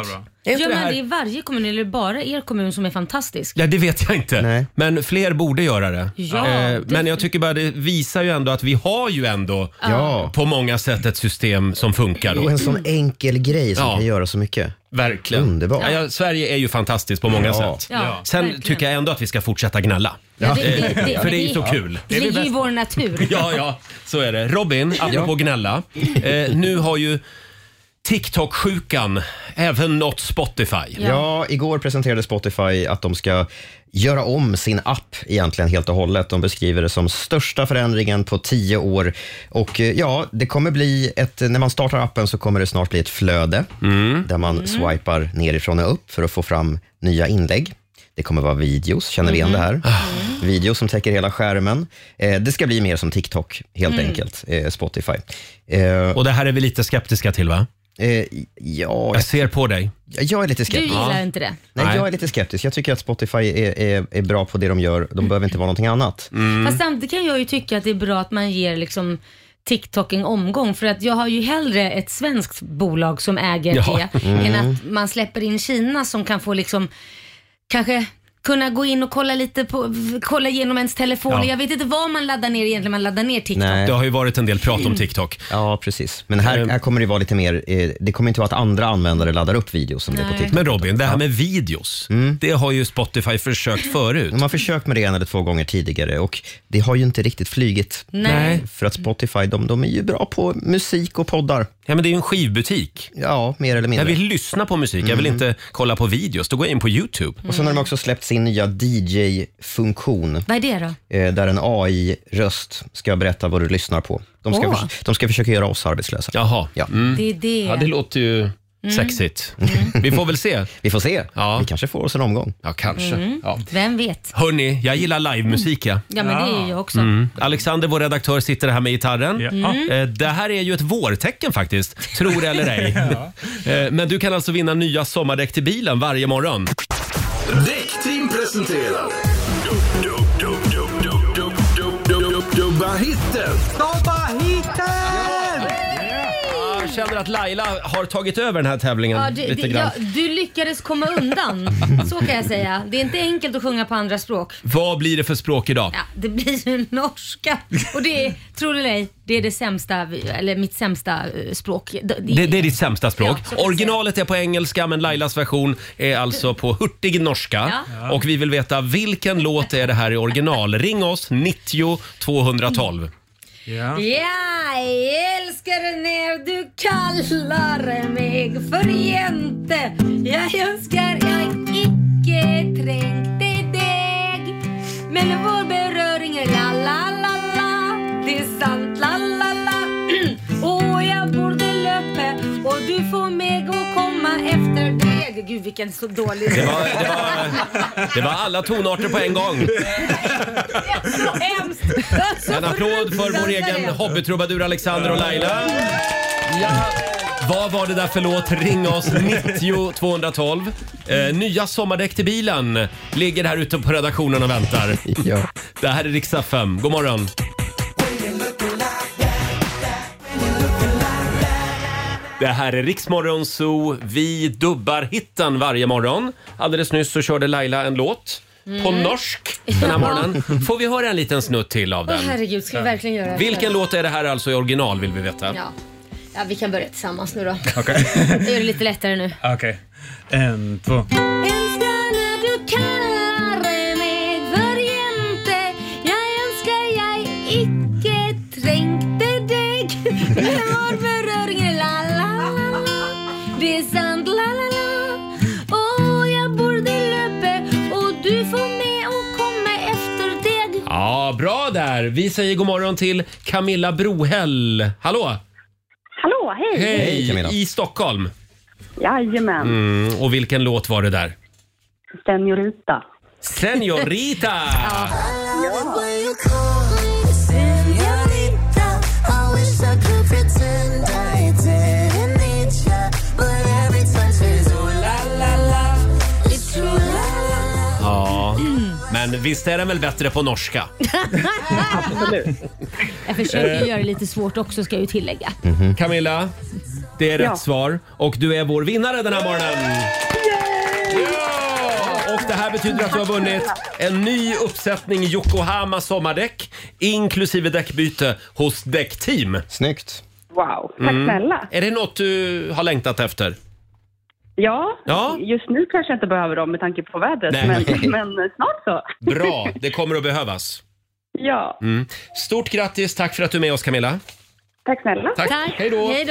B: Gör
A: det
B: man
A: här-
B: det i varje kommun eller är det bara er kommun som är fantastisk?
A: Ja, det vet jag inte. Men fler borde göra det. Eh,
B: Ja,
A: men jag tycker bara det visar ju ändå att vi har ju ändå
C: Ja.
A: på många sätt ett system som funkar.
C: Och en sån enkel grej som
A: Ja.
C: kan göra så mycket.
A: Verkligen.
C: Underbart.
A: Ja. Ja, Sverige är ju fantastiskt på många
C: Ja.
A: sätt.
B: Ja,
A: Sen
B: verkligen.
A: tycker jag ändå att vi ska fortsätta gnälla.
B: Ja, det- det-
A: Eh,
B: det-
A: För det är
B: det-
A: ju så kul.
B: Det ligger i vår natur.
A: [laughs] Ja, ja, så är det. Robin, apropå gnälla. Eh, nu har ju TikTok-sjukan även nått Spotify.
C: Ja. igår presenterade Spotify att de ska göra om sin app egentligen helt och hållet. De beskriver det som största förändringen på tio år. Och eh, ja, det kommer bli ett, när man startar appen så kommer det snart bli ett flöde
A: Mm.
C: där man swipar nerifrån och upp för att få fram nya inlägg. Det kommer vara videos, känner vi igen det här? Video som täcker hela skärmen. Eh, det ska bli mer som TikTok, helt
A: Mm.
C: enkelt, eh, Spotify. Eh,
A: Och det här är vi lite skeptiska till, va?
C: ja,
A: jag ser på dig.
C: Jag är lite
B: Du
C: skeptisk.
B: gillar inte det?
C: Nej,
A: Nej.
C: jag är lite skeptisk. Jag tycker att Spotify är, är, är bra på det de gör. De behöver inte vara någonting annat.
B: Mm.
A: Mm.
B: Fast samtidigt kan jag ju tycka att det är bra att man ger liksom TikTok en omgång för att jag har ju hellre ett svenskt bolag som äger
L: Ja.
B: det
L: Mm.
B: än att man släpper in Kina som kan få liksom kanske kunna gå in och kolla lite på, kolla genom ens telefon.
A: Ja.
B: Jag vet inte vad man laddar ner egentligen, man laddar ner TikTok.
A: Det har ju varit en del prat om TikTok. Ehm.
C: Ja, precis. Men här, här kommer det vara lite mer... eh, Det kommer inte vara att andra användare laddar upp videos som det är
B: Nej.
C: på TikTok.
A: Men Robin, det här med videos, det har ju Spotify försökt förut.
C: Man har försökt med det en eller två gånger tidigare och det har ju inte riktigt flugit.
A: Nej.
C: För att Spotify, de, de är ju bra på musik och poddar.
A: Ja, men det är ju en skivbutik.
C: Ja, mer eller mindre.
A: Jag vill lyssna på musik, jag vill
C: Mm.
A: inte kolla på videos. Då går jag in på YouTube.
C: Och sen har de också släppt sin nya DJ-funktion.
B: Vad är det då?
C: eh, där en AI-röst ska berätta vad du lyssnar på. De ska,
B: Åh.
C: förs- de ska försöka göra oss arbetslösa.
A: Jaha. Mm.
C: Ja. Mm.
B: Det är det. Mm.
A: Ja, det låter ju sexigt. Vi får väl se.
C: [laughs] Vi får se.
A: Ja.
C: Vi kanske får oss en omgång.
A: Ja, kanske.
B: Mm.
A: Ja.
B: Vem vet?
A: Hörni, jag gillar livemusik. Ja.
B: Ja, men det är ju jag också.
A: Mm. Alexander, vår redaktör, sitter här med gitarren.
B: Mm.
A: Eh, Det här är ju ett vårtecken faktiskt, tror eller
C: [laughs]
A: ej. Eh, Men du kan alltså vinna nya sommardäck till bilen varje morgon.
D: Däckteam presenterar... Dub, dub, dub, dub, dub, dub, dub, dub, dub, Dubba hitten! Dubba hitten!
A: Jag känner att Laila har tagit över den här tävlingen
B: Ja, du,
A: lite
B: det,
A: grann.
B: ja, du lyckades komma undan, så kan jag säga. Det är inte enkelt att sjunga på andra språk.
A: Vad blir det för språk idag?
B: Ja, det blir ju norska. Och det är, tror du eller ej, det är det sämsta, eller mitt sämsta eh, språk. Det-
A: Det, det är ditt sämsta språk.
B: Ja, så kan jag
A: Originalet är på engelska men Lailas version är alltså på hurtig norska.
B: Ja.
A: Och vi vill veta vilken låt är det här i original? Ring oss 90 212.
B: Ja, jag älskar när du kallar mig för jente. Jag önskar jag icke tränkte dig. Men vår beröring är la la la la. Det är sant la la la. [clears throat] Och jag borde löpa och du får mig att komma efter dig. Gud vilken så dålig
A: Det var, det, var, det var alla tonarter på en gång.
B: Så [laughs] hemskt. Så
A: En applåd för vår egen hobbytrubadur Alexander och Laila. Ja. Vad var det där för låt? Ring oss 90 212. Eh, nya sommardäck till bilen ligger här ute på redaktionen och väntar.
C: Ja.
A: Det här är riksdag 5. God morgon. Det här är Riksmorgon Zoo. Vi dubbar hitten varje morgon. Alldeles nyss så körde Laila en låt på
B: Mm.
A: norsk den här
B: Ja.
A: morgonen. Får vi höra en liten snutt till av
B: Åh
A: den?
B: herregud, ska vi verkligen göra det? här?
A: Vilken låt är det här alltså i original vill vi veta?
B: Ja. ja, vi kan börja tillsammans nu då.
K: Okej.
A: [laughs]
B: Jag gör det lite lättare nu.
K: Okej. En, två.
B: Älskar när du kallar mig för jente Jag önskar jag icke tränkte dig Vår beröring är la la la
A: Bra där! Vi säger god morgon till Camilla Brohäll. Hallå!
L: Hallå, hej!
A: I Stockholm.
L: Jajamän,
A: Mm, och vilken låt var det
B: [laughs]
A: där?
L: seniorita.
A: Senorita! Ja, men visst är den väl bättre på norska?
L: Absolut.
B: Jag försöker ju
A: Eh.
B: göra det lite svårt också ska jag ju tillägga.
A: Camilla, det är rätt
B: Ja.
A: svar. Och du är vår vinnare den här morgonen. Ja! Och det här betyder att du har vunnit en ny uppsättning Yokohama sommardäck inklusive däckbyte hos Däckteam. Mm.
C: Snyggt.
L: Wow, tack snälla.
A: Är det något du har längtat efter?
L: Ja,
A: Ja.
L: just nu kanske jag inte behöver dem med tanke på vädret, men,
A: Nej.
L: men snart så.
A: Bra, det kommer att behövas.
L: [laughs] Ja,
A: Mm. Stort grattis, tack för att du är med oss Camilla.
L: tack snälla.
A: Tack. Hej då.
B: Hej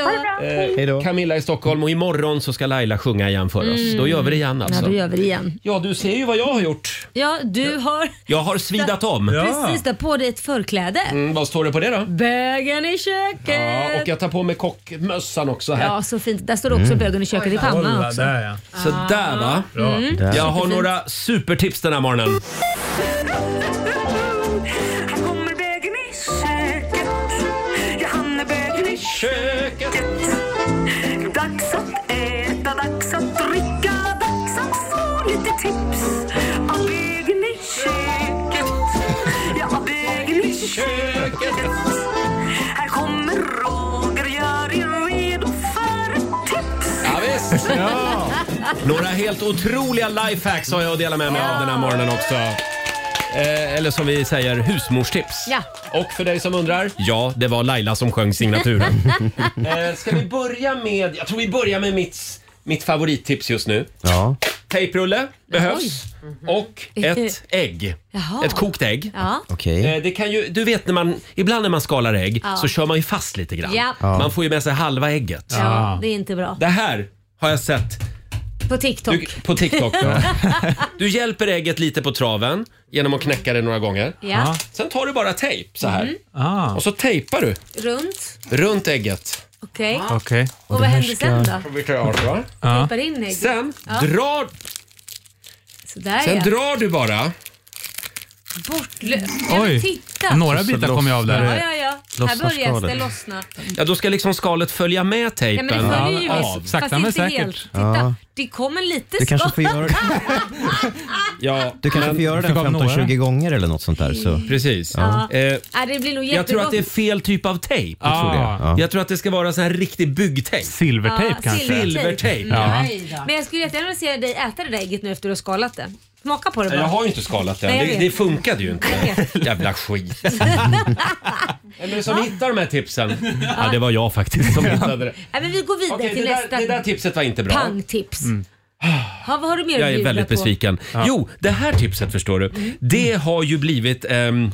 B: då.
A: Eh, Camilla i Stockholm och imorgon så ska Laila sjunga igen för oss.
B: Mm.
A: Då gör vi det igen alltså.
B: Ja, då gör vi det igen.
A: Ja, du ser ju vad jag har gjort.
B: Ja, du har
A: Jag har svidat om.
B: precis där på dig ett förkläde.
A: Mm, vad står det på det då?
B: Bögen i köket.
A: Ja, och jag tar på mig kockmössan också här.
B: Ja, så fint. Där står det också
A: Mm.
B: bögen i köket i pannan också.
A: Så där va.
B: Bra. Mm.
A: Där. Jag har
B: Superfint.
A: några supertips den här morgonen.
D: Han kommer bögen i köket Ja, han är bögen i köket Dags att äta, dags att dricka Dags att få lite tips Av bögen i köket Ja, av bögen i köket Här kommer Roger, gör er redo för ett tips
A: Ja, visst. Ja. Några helt otroliga lifehacks har jag att dela med mig av den här morgonen också. Eh, eller som vi säger, husmorstips.
B: Ja.
A: Och för dig som undrar, ja, det var Laila som sjöng
D: [laughs]
A: signaturen. [laughs] eh, ska vi börja med, jag tror vi börjar med mitt, mitt favorittips just nu.
C: Ja.
A: Tejprulle behövs och ett ägg.
B: Eh, Jaha.
A: Ett kokt ägg.
B: Ja.
A: Eh, Det kan ju, du vet när man, ibland när man skalar ägg
B: Ja.
A: så kör man ju fast lite grann.
B: Ja. Ja.
A: Man får ju med sig halva ägget.
B: ja, det är inte bra.
A: Det här har jag sett
B: På TikTok.
A: du, på TikTok.
B: [laughs]
A: Ja. Du hjälper ägget lite på traven genom att knäcka det några gånger.
B: Ja.
A: Sen tar du bara tejp så här.
B: Mm.
A: Och så tejpar du
B: Runt.
A: runt ägget.
B: Okej.
A: Okej.
B: Och vad händer sen då?
A: Vi tar av, va?
B: Tippar in ägget.
A: Sen
B: Ja.
A: drar,
B: Sådär
A: sen
B: ja.
A: drar du bara.
B: Bortlö... Ja, men
A: Oj.
B: Titta.
A: Några bitar kom ju av där.
B: Ja, ja, ja. Här
A: Lossnar
B: börjar det
A: skalet.
B: lossna.
A: Ja, då ska liksom skalet följa med
B: Nej,
A: tejpen. alltså,
B: men det följer ju
A: av.
B: visst, fast inte helt. Titta, det kommer lite
A: Du kanske
B: skott.
A: får göra Ja,
C: Du kanske
A: men-
C: får göra den
A: Fick av några.
C: 15-20 gånger eller något sånt där. Så.
A: Precis.
B: Ja.
A: Eh,
B: Nej, det blir nog jättebra.
A: jag tror att det är fel typ av tejp.
C: Jag tror det,
B: Ah.
C: ja.
A: Jag tror att det ska vara sån här riktig byggtejp.
B: Ja,
A: Silvertejp.
B: Ah, Mm, nej då. Men jag skulle jättegärna se dig äta det där ägget nu efter du har skalat det. Smaka på det bara.
A: Jag har ju inte skalat den.
B: Nej, jag
A: Det,
B: vet.
A: det funkade ju inte. Jävla skit. Vem är det som hittar de här tipsen? Ja, det var jag faktiskt som hittade det.
B: Nej, men vi går vidare
A: Okej,
B: till
A: det,
B: nästa.
A: där, det där tipset var inte bra.
B: Pangtips.
A: Mm.
B: Ha, vad har du mer att
A: Jag är
B: bjuda
A: väldigt
B: på?
A: besviken. Jo, det här tipset förstår du. Det har ju blivit ehm,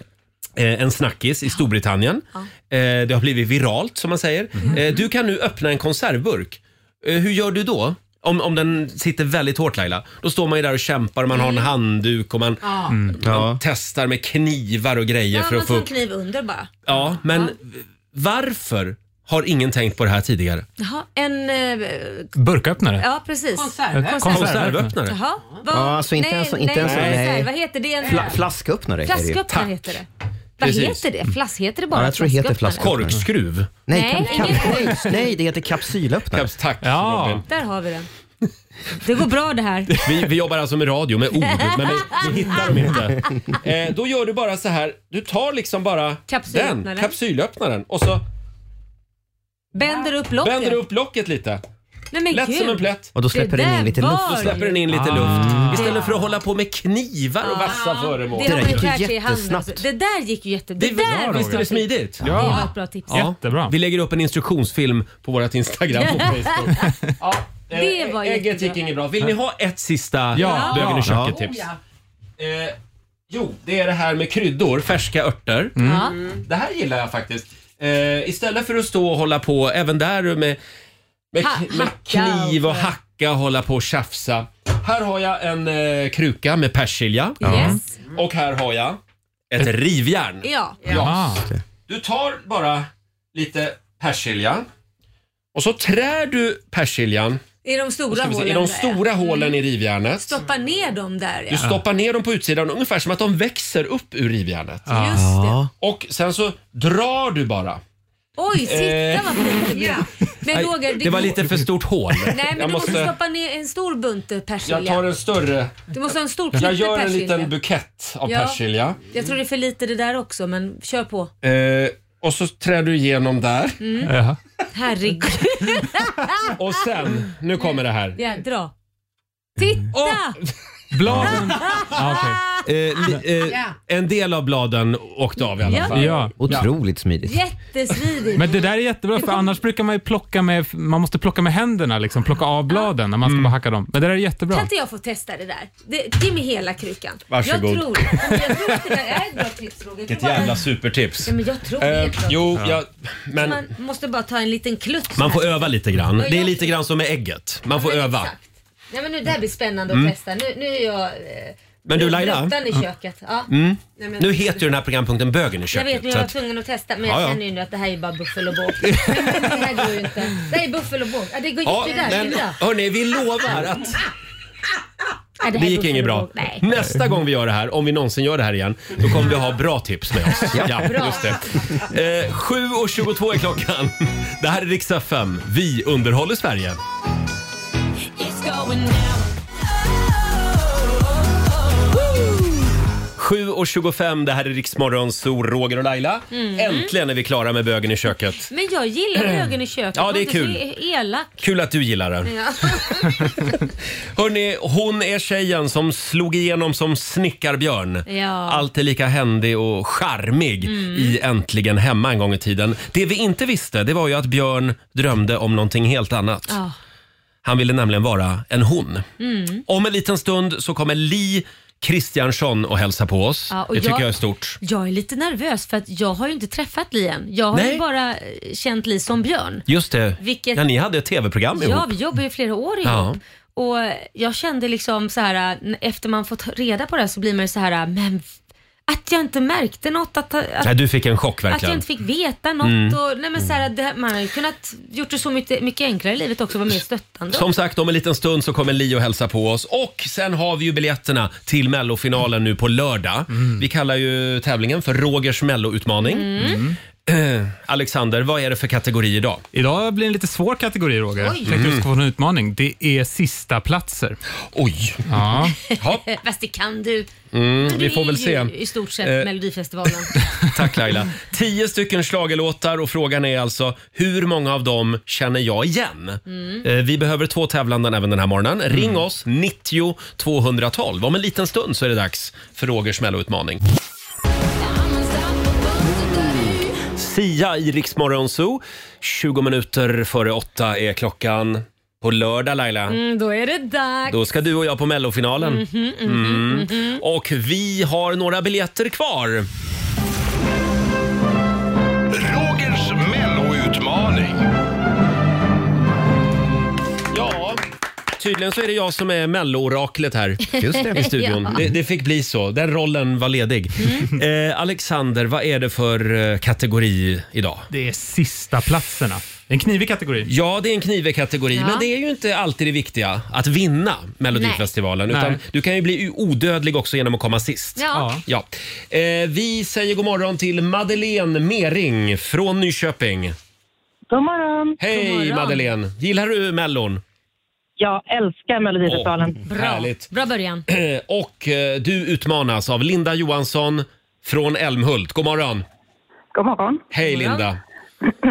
A: eh, en snackis i Storbritannien. Eh, det har blivit viralt som man säger. Eh, du kan nu öppna en konservburk. Eh, hur gör du då? Om, om den sitter väldigt hårt Laila, då står man ju där och kämpar och man har en handduk och man,
B: Ja.
A: man testar med knivar och grejer
B: Ja,
A: för
B: man
A: att få
B: tar en
A: upp.
B: kniv under bara.
A: Ja, men varför har ingen tänkt på det här tidigare?
B: Jaha, en... Eh,
A: Burköppnare?
B: ja, precis.
A: Konservöppnare. Konservöppnare.
B: Jaha. Vad-
C: Ja, alltså inte
B: nej,
C: en sån- inte
B: nej,
C: en sån- nej.
B: konserv. Vad heter det? En...
C: Fla- flasköppnare är det ju.
B: Flasköppnare
C: Tack.
B: heter det. Vad
C: Precis.
B: heter det? Flass heter det bara?
C: Ja, jag tror det heter flasköppnare.
A: Korkskruv?
C: Nej,
B: Nej,
C: kam, kam,
B: ingen
C: nej,
B: korkskruv.
C: nej, det heter kapsylöppnare.
A: Kaps, tack ja. Robin.
B: Där har vi den. Det går bra det här.
A: Vi, vi jobbar alltså med radio, med ord,
B: [laughs]
A: men vi, vi hittar dem inte. Eh, då gör du bara så här, du tar liksom bara
B: Kapsylöppnaren.
A: den, kapsylöppnaren och så
B: Bänder upp locket.
A: vänder du upp locket lite.
B: Nej, men
A: Lätt
B: gud.
A: som en plätt.
C: Och då släpper
B: Det
C: den in
B: där
C: lite
B: var Ah.
C: luft. Ah.
A: Då släpper den in lite luft. Istället för att hålla på med knivar och vassa föremål.
B: Det, har man ju lärt sig i handen. alltså. Det där gick ju jätte... Det, där var
A: Visst är
B: bra
A: det
B: tips.
A: smidigt?
B: Det var ett bra tips.
A: Jättebra. Vi lägger upp en instruktionsfilm på vårt Instagram
B: [laughs]
A: och Facebook. Ja, eh,
B: Det var
A: Ägget gick
B: jättebra.
A: inget bra. Vill ni ha ett sista
D: Ja.
A: bögen i
D: Ja.
A: köket-tips? Eh, jo, det är det här med kryddor, färska örter.
D: Mm. Ja.
A: Det här gillar jag faktiskt. Eh, istället för att stå och hålla på även där med, med,
D: Ha-
A: med
D: hacka och-
A: kniv och hacka och hålla på och tjafsa. Här har jag en eh, kruka med persilja.
D: Yes.
A: Och här har jag Ett rivjärn.
B: Ja.
D: Ah,
A: Du tar bara lite persilja och så trär du persiljan
B: I de stora
A: ska vi se,
B: hålen
A: i de
B: där.
A: stora hålen i
B: Mm.
A: rivjärnet.
B: Stoppa ner dem där ja.
A: Du stoppar ner dem på utsidan ungefär som att de växer upp ur rivjärnet.
B: Just det.
A: Och sen så drar du bara.
B: Oj,
A: Eh.
B: titta vad fint det blev. Men
A: Nej,
B: Roger,
A: det var
B: går-
A: lite för stort hål.
B: Nej, men
A: jag
B: du måste...
A: måste,
B: stoppa ner en stor bunt persilja.
A: jag tar en större.
B: Du måste ha en stor
A: Jag
B: klippe
A: gör en
B: persilja.
A: liten bukett av
B: Ja.
A: persilja.
B: Jag tror det är för lite det där också, men kör på.
A: Eh, och så trär du igenom där.
B: Mm. Herregud.
A: [laughs] Och sen, nu kommer det här.
B: Ja, dra. Titta! [laughs]
A: Bladen.
B: Ja.
A: Eh, En del av bladen åkte av i alla
B: Ja.
A: fall.
B: Ja.
K: Otroligt
C: smidigt.
B: Jättesmidigt.
K: Men det där är jättebra för annars brukar man ju plocka med, man måste plocka med händerna liksom, plocka av bladen när man ska bara hacka dem. Men det där är jättebra.
B: Kan inte jag få testa det där? Det, ge mig hela krukan.
A: Varsågod.
B: Jag tror, jag tror att det där är ett bra tips Roger.
A: Vilket
B: Det var-
A: jävla supertips.
B: Ja, men jag tror
A: Eh,
B: det.
A: jo, jag, men
B: Men... Man måste bara ta en liten klutt.
A: man får öva lite grann.
B: Och jag-
A: Det är lite grann som med ägget. Man får öva.
B: Nej men nu, det här blir spännande att
A: Mm.
B: testa. Nu, nu är jag... Eh,
A: Men du, Laila?
B: bruttan i
A: Ja.
B: köket. Ja.
A: Mm.
B: Nej, men-
A: Nu heter ju den här programpunkten Bögen i
B: Jag vet,
A: köket.
B: men
A: så
B: jag var
A: att,
B: tvungen att testa. Men jag
A: Ja, ja.
B: känner ju nu att det här är bara buffel och
A: [laughs]
B: båt. det här går ju inte. Det här är buffel och båt. Ja, det går ju
A: ja,
B: inte där.
A: men
B: Julia.
A: hörni, vi lovar att
B: Nej,
A: det
B: här är
A: gick
B: buffel
A: inget
B: och
A: bra.
B: båt. Nej.
A: Nästa gång vi gör det här, om vi någonsin gör det här igen, då kommer vi ha bra tips med oss.
B: Ja.
A: Ja,
B: Bra.
A: just det. Eh, 7.22 är klockan. Det här är Riksdag 5. Vi underhåller Sverige.
D: It's going down.
A: 7.25, det här är Riksmorgon, så Roger och Laila.
B: Mm.
A: Äntligen är vi klara med Bögen i köket.
B: Men jag gillar bögen i köket.
A: Ja,
B: Var
A: det är
B: inte
A: kul.
B: Så elak.
A: Kul att du gillar den.
B: Ja.
A: Hörni, hon är tjejen som slog igenom som snickarbjörn.
B: Ja.
A: Alltid lika händig och charmig
B: Mm.
A: i Äntligen hemma en gång i tiden. Det vi inte visste det var ju att Björn drömde om någonting helt annat.
B: Ja.
A: Han ville nämligen vara en hon.
B: Mm.
A: Om en liten stund så kommer Li Kristiansson och hälsa på oss.
B: Ja, och
A: det tycker jag...
B: jag
A: är stort.
B: Jag är lite nervös för att jag har ju inte träffat Li än. Jag har
A: Nej.
B: ju bara eh, känt Li som Björn.
A: Just det,
B: Vilket-
A: ja, ni hade ett tv-program ihop.
B: Ja, vi jobbar ju flera år ihop.
A: Ja.
B: Och jag kände liksom så här, eh, efter man fått reda på det här så blir man ju så här, men f- att jag inte märkte något. Att, att,
A: Nej, du fick en chock
B: att jag
A: verkligen.
B: inte fick veta något.
A: Mm.
B: Och, nej men så här, det, man har ju kunnat gjort det så mycket, mycket enklare i livet också, vara mer stöttande.
A: Som sagt, om en liten stund så kommer Li och hälsa på oss. Och sen har vi ju biljetterna till mellofinalen nu på lördag.
K: Mm.
A: Vi kallar ju tävlingen för Rogers melloutmaning.
D: Mm.
A: Eh, Alexander, vad är det för kategori idag?
K: Idag blir det en lite svår kategori Roger. Jag
B: Oj.
K: tänkte du ska få en utmaning. Det är sista platser.
A: Oj!
K: Ja.
B: [laughs] Fast det kan du.
A: Mm,
B: Men
A: vi
B: det
A: får
B: är
A: väl
B: ju
A: se.
B: I stort sett
A: Eh. [laughs]
B: Melodifestivalen.
A: Tack Laila. Tio stycken schlagerlåtar och frågan är alltså hur många av dem känner jag igen?
B: Mm.
A: Eh, Vi behöver två tävlanden även den här morgonen. Ring oss, 90 212. Om en liten stund så är det dags för Rogers melloutmaning. Sia i Rix Morgon Zoo. 20 minuter före åtta är klockan. På lördag Laila,
B: Mm, då är det dags.
A: då ska du och jag på mellofinalen.
B: Mhm, mhm,
A: Mm.
B: mhm.
A: Och vi har några biljetter kvar.
D: Rogers melloutmaning.
A: Ja. Tydligen så är det jag som är mellooraklet här
D: Just
A: [laughs]
D: det.
A: i studion.
D: Ja.
A: det, det fick bli så. Den rollen var ledig. Eh, Alexander, vad är det för eh, kategori idag?
K: Det är sista platserna. Det är en knivig kategori.
A: Ja, det är en knivig kategori,
K: Ja.
A: men det är ju inte alltid det viktiga att vinna Melodifestivalen.
K: Nej.
A: Utan
K: Nej.
A: du kan ju bli odödlig också genom att komma sist.
D: Ja.
A: Ja. Eh, vi säger god morgon till Madeleine Mering från Nyköping.
M: God morgon.
A: Hej Madeleine! Gillar du Mellon?
M: Jag älskar Melodifestivalen.
A: Bra. Härligt.
B: Bra början.
A: [clears throat] Och eh, du utmanas av Linda Johansson från Älmhult. God morgon!
M: God morgon.
A: Hej
M: God morgon.
A: Linda!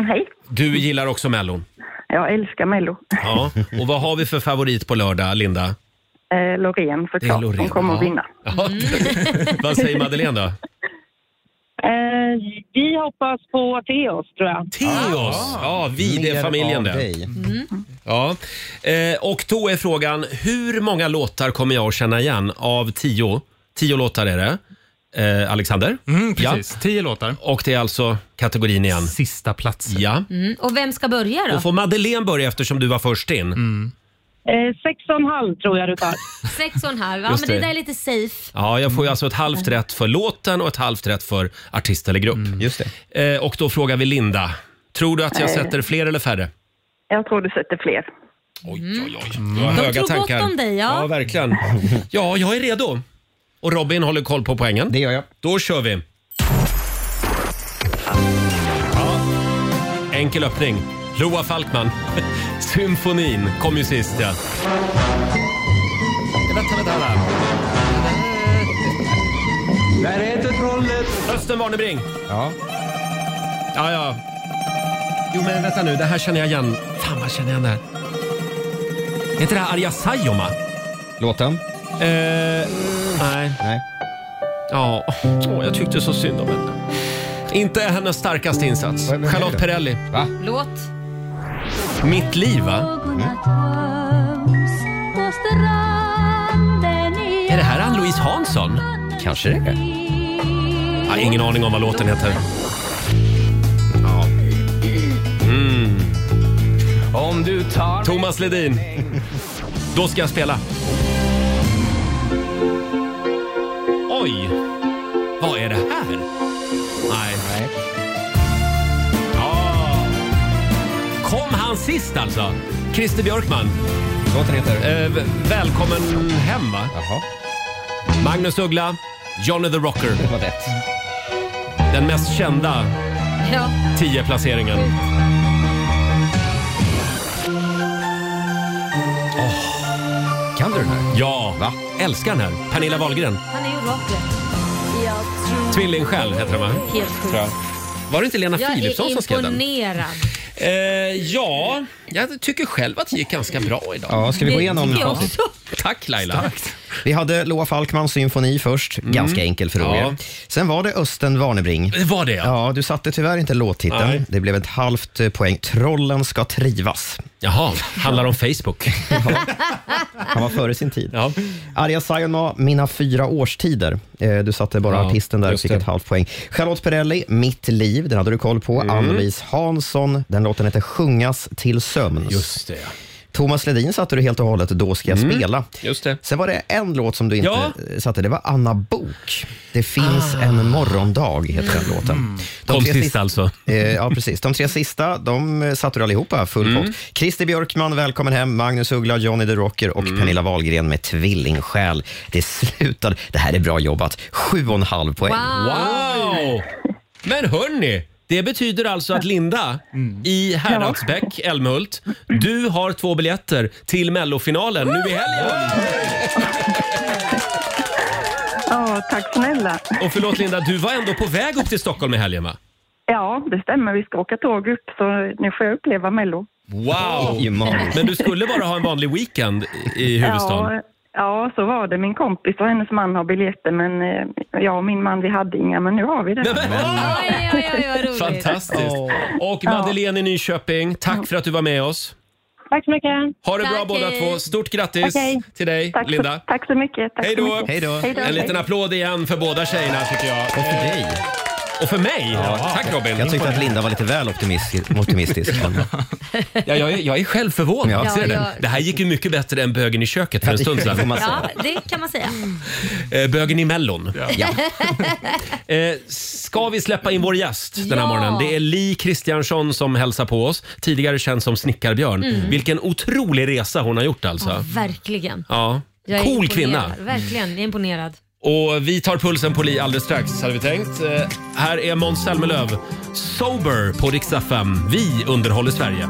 M: [clears throat] Hej.
A: Du gillar också Mellon.
M: Jag älskar Mello.
A: Ja. Och vad har vi för favorit på lördag, Linda?
M: Eh, Loreen
A: Det är
M: såklart.
A: Loreen,
M: Hon kommer att
A: ja.
M: vinna.
A: Ja. [laughs] Vad säger Madeleine då?
M: Eh, vi hoppas på Theos, tror jag.
A: Theos! Ah, Ja, vi, det är
C: Mer
A: familjen
C: av
A: det.
C: dig.
A: Ja. Eh, och då är frågan, hur många låtar kommer jag att känna igen av tio? Tio låtar är det. Eh, Alexander? Mm,
K: precis.
A: Tio låtar. Och det är alltså kategorin igen? Sista platsen. Ja.
B: Mm. Och vem ska börja då?
A: Då får Madeleine börja eftersom du var först in.
M: Eh, sex och en halv tror jag du tar.
B: Sex och en halv. Ja,
A: Just
B: men det
A: det.
B: där är lite safe.
A: Ja, jag får ju alltså ett halvt rätt för låten och ett halvt rätt för artist eller grupp.
C: Just
A: det. Och då frågar vi Linda. Tror du att jag
L: Eh.
A: sätter fler eller färre?
L: Jag tror du sätter fler.
A: Du har
B: De
A: höga
B: tror gott
A: tankar.
B: om dig, ja.
A: ja, verkligen. [laughs] Ja, jag är redo. Och Robin håller koll på poängen. Det
C: gör jag.
A: Då kör vi. Ja. Enkel öppning. Loa Falkman. [laughs] Symfonin kom ju sist ja. Vänta, vänta, vänta. Där heter trollet. Östen Warnerbring.
C: Ja.
A: Ja, ja. Jo, men vänta nu. Det här känner jag igen. Fan, vad känner jag igen det här? Är inte det här Arja Saijonmaa?
C: Låten?
A: Eh, nej.
C: Nej.
A: Ja, åh, jag tyckte så synd om henne. Inte hennes starkaste insats.
C: Vem är det
A: Charlotte
C: då?
A: Perrelli.
C: Va?
B: Låt.
A: Mitt liv, va? Är det här Ann-Louise Hansson?
C: Kanske det är.
A: Ja, ingen aning om vad låten heter. Ja. Mm. Om du tar Thomas Ledin. Då ska jag spela. Oj! Vad är det här? Nej. Nej. Ja. Kom han sist alltså? Christer Björkman.
C: Låten heter?
A: Eh, v- välkommen hem va?
C: Jaha.
A: Magnus Uggla, Johnny the Rocker. Det
C: var rätt.
A: Den mest kända
B: Ja.
A: 10-placeringen.
C: Kan du den här?
A: Ja, Va? älskar den här. Pernilla Wahlgren.
B: Han är ju rocker.
A: Tvillingsjäl heter den va?
B: Helt sjukt.
A: Tror jag. Var det inte Lena
B: Jag
A: Philipsson som
B: är
A: skrev den?
B: imponerad.
A: Eh, ja, jag tycker själv att det gick ganska bra idag.
C: Ja, ska vi gå igenom
A: Det tycker jag
C: facit?
A: också. Tack Laila.
C: Vi hade Loa Falkmans symfoni först. Ganska enkel för Roger.
A: Mm. Ja.
C: Sen var det Östen Warnerbring.
A: Var det
C: ja? Du satte tyvärr inte låttiteln.
A: Nej.
C: Det blev ett halvt eh, poäng. Trollen ska trivas.
A: Jaha, handlar om
C: [laughs]
A: Facebook.
C: Han var före sin tid. Arja Saijonmaa, Mina fyra årstider. Eh, Du satte bara
A: Ja,
C: artisten där och
A: just
C: fick
A: det.
C: ett halvt poäng. Charlotte Perrelli, Mitt liv, den hade du koll på.
A: Mm.
C: Ann-Louise Hansson, den låten heter Sjungas till sömns.
A: Just det.
C: Thomas Ledin satte du helt och hållet, Då ska jag
A: Mm,
C: spela.
A: Just det.
C: Sen var det en låt som du inte
A: Ja. Ah.
C: eh, satte, det var Anna Bok. Det finns en morgondag, heter den låten.
A: Mm. Kom
C: tre
A: sist
C: sista-
A: alltså.
C: Eh, ja, precis. De tre sista de eh, satte du allihopa, full
A: Mm.
C: pott. Christer Björkman, Välkommen hem, Magnus Uggla, Johnny the Rocker och
A: Mm.
C: Pernilla Wahlgren med Tvillingsjäl. Det slutade, det här är bra jobbat, sju och en halv poäng.
A: Wow! Men hörni, det betyder alltså att Linda i Häradsbäck, Älmhult, du har två biljetter till mellofinalen nu i helgen.
L: Ja, tack snälla.
A: Och förlåt Linda, du var ändå på väg upp till Stockholm i helgen va?
L: Ja, det stämmer. Vi ska åka tåg upp, så nu får jag uppleva Mello.
A: Wow! Men du skulle bara ha en vanlig weekend i- i huvudstaden.
L: Ja, ja, så var det. Min kompis och hennes man har biljetter, men eh, jag och min man vi hade inga, men nu har vi det.
B: Oj, oj, oj,
L: [laughs]
B: vad roligt.
A: Fantastiskt! Och Madeleine i Nyköping, tack för att du var med oss.
L: Tack så mycket.
A: Ha det bra båda två. Stort grattis
L: Okej.
A: till dig
L: Tack så-
A: Linda.
L: Tack så mycket. Tack
A: Hej
L: så
A: då!
L: mycket. Hej då.
A: En liten applåd igen för båda tjejerna tycker jag. Och för
C: dig.
A: Och för mig? Tack Robin.
C: Jag tyckte att Linda var lite väl optimistisk. optimistisk. men-
A: [laughs] Ja, jag, är- jag är själv förvånad.
C: Ja,
A: Ser du det?
B: jag-
A: Det här gick ju mycket bättre än bögen i köket för en stund
C: det får
A: sedan.
C: man
B: Ja, det kan man säga.
A: Eh, Bögen i mellon.
B: Ja.
A: Eh, Ska vi släppa in vår gäst den här
B: Ja.
A: morgonen? Det är Li Kristiansson som hälsar på oss. Tidigare känd som Snickarbjörn.
B: Mm.
A: Vilken otrolig resa hon har gjort alltså.
B: [laughs] Verkligen.
A: Ja.
B: Jag är
A: Cool
B: imponerad.
A: kvinna.
B: Verkligen, jag är imponerad.
A: Och vi tar pulsen på Li alldeles strax hade vi tänkt. Eh, här är Måns Zelmerlöw. Sober på Rix FM. Vi underhåller Sverige.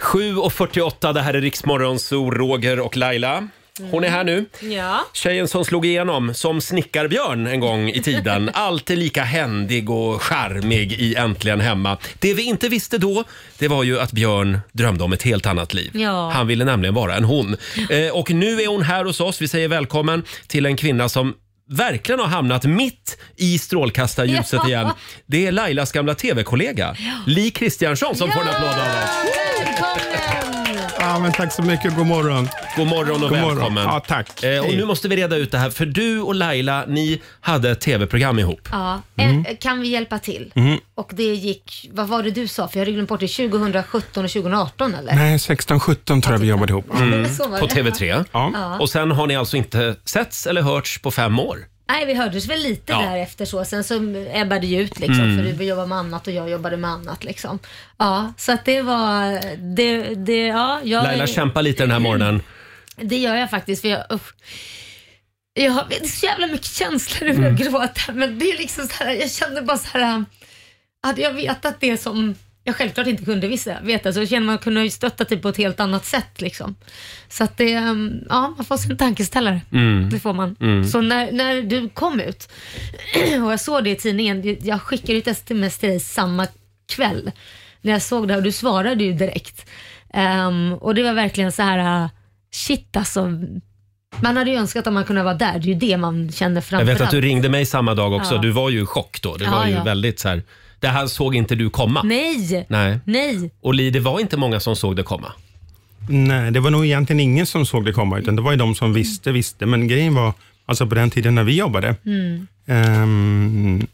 A: 7.48, det här är Riksmorgon, så Roger och Laila. Hon är här nu.
B: Ja.
A: Tjejen som slog igenom som snickarbjörn en gång i
B: [laughs]
A: tiden. Alltid lika händig och charmig i Äntligen hemma. Det vi inte visste då, det var ju att Björn drömde om ett helt annat liv.
B: Ja.
A: Han ville nämligen vara en hon. Eh, och nu är hon här hos oss. Vi säger välkommen till en kvinna som verkligen har hamnat mitt i strålkastarljuset
B: Ja.
A: igen. Det är Lailas gamla tv-kollega, Li Kristiansson, som får en applåd av oss.
B: Välkommen!
N: Ja, men tack så mycket. God morgon.
A: God morgon och
N: God morgon.
A: välkommen.
N: Ja, tack.
A: Eh, och
N: Hej.
A: nu måste vi reda ut det här, för du och Laila, ni hade ett tv-program ihop.
B: Ja,
A: Mm.
B: eh, kan vi hjälpa till?
A: Mm.
B: Och det gick, vad var det du sa? För jag har glömt bort det, 2017 och 2018 eller?
N: Nej, 16, 17 tror jag vi jobbade ihop.
B: Mm. Så var
A: Mm. På
B: det.
A: TV3.
B: Ja.
A: Och sen har ni alltså inte setts eller hörts på fem år.
B: Nej, vi hördes väl lite
A: Ja.
B: där efter så. Sen så ebbade det ju ut liksom,
A: Mm.
B: för du jobbade med annat och jag jobbade med annat liksom. Ja, så att det var, det, det ja. Jag,
A: Laila kämpar lite den här morgonen.
B: Det gör jag faktiskt för jag, usch. jag har det är så jävla mycket känslor över
D: Mm.
B: att gråta. Men det är liksom så här, jag känner bara så här, hade jag vetat det som jag självklart inte kunde vissa, veta så känner man kunde ju stötta typ på ett helt annat sätt liksom. Så att det, um, ja man får sin tankeställare.
D: Mm.
B: Det får man.
D: Mm.
B: Så när, när du kom ut [clears throat] och jag såg det i tidningen, jag skickade ett sms till dig samma kväll när jag såg det här och du svarade ju direkt. Ehm, och det var verkligen så här, uh, shit alltså. Man hade ju önskat att man kunde vara där, det är ju det man känner
A: Jag
B: framförallt.
A: vet att du ringde mig samma dag också.
B: Ja.
A: Du var ju i chock då. Det
B: Ja,
A: var ju
B: ja.
A: väldigt så här. Det här såg inte du komma.
B: Nej,
A: Nej.
B: nej.
A: Och Li, det var inte många som såg det komma.
N: Nej, det var nog egentligen ingen som såg det komma, utan det var ju de som visste, visste. Men grejen var, alltså på den tiden när vi jobbade,
D: Mm.
N: ehm,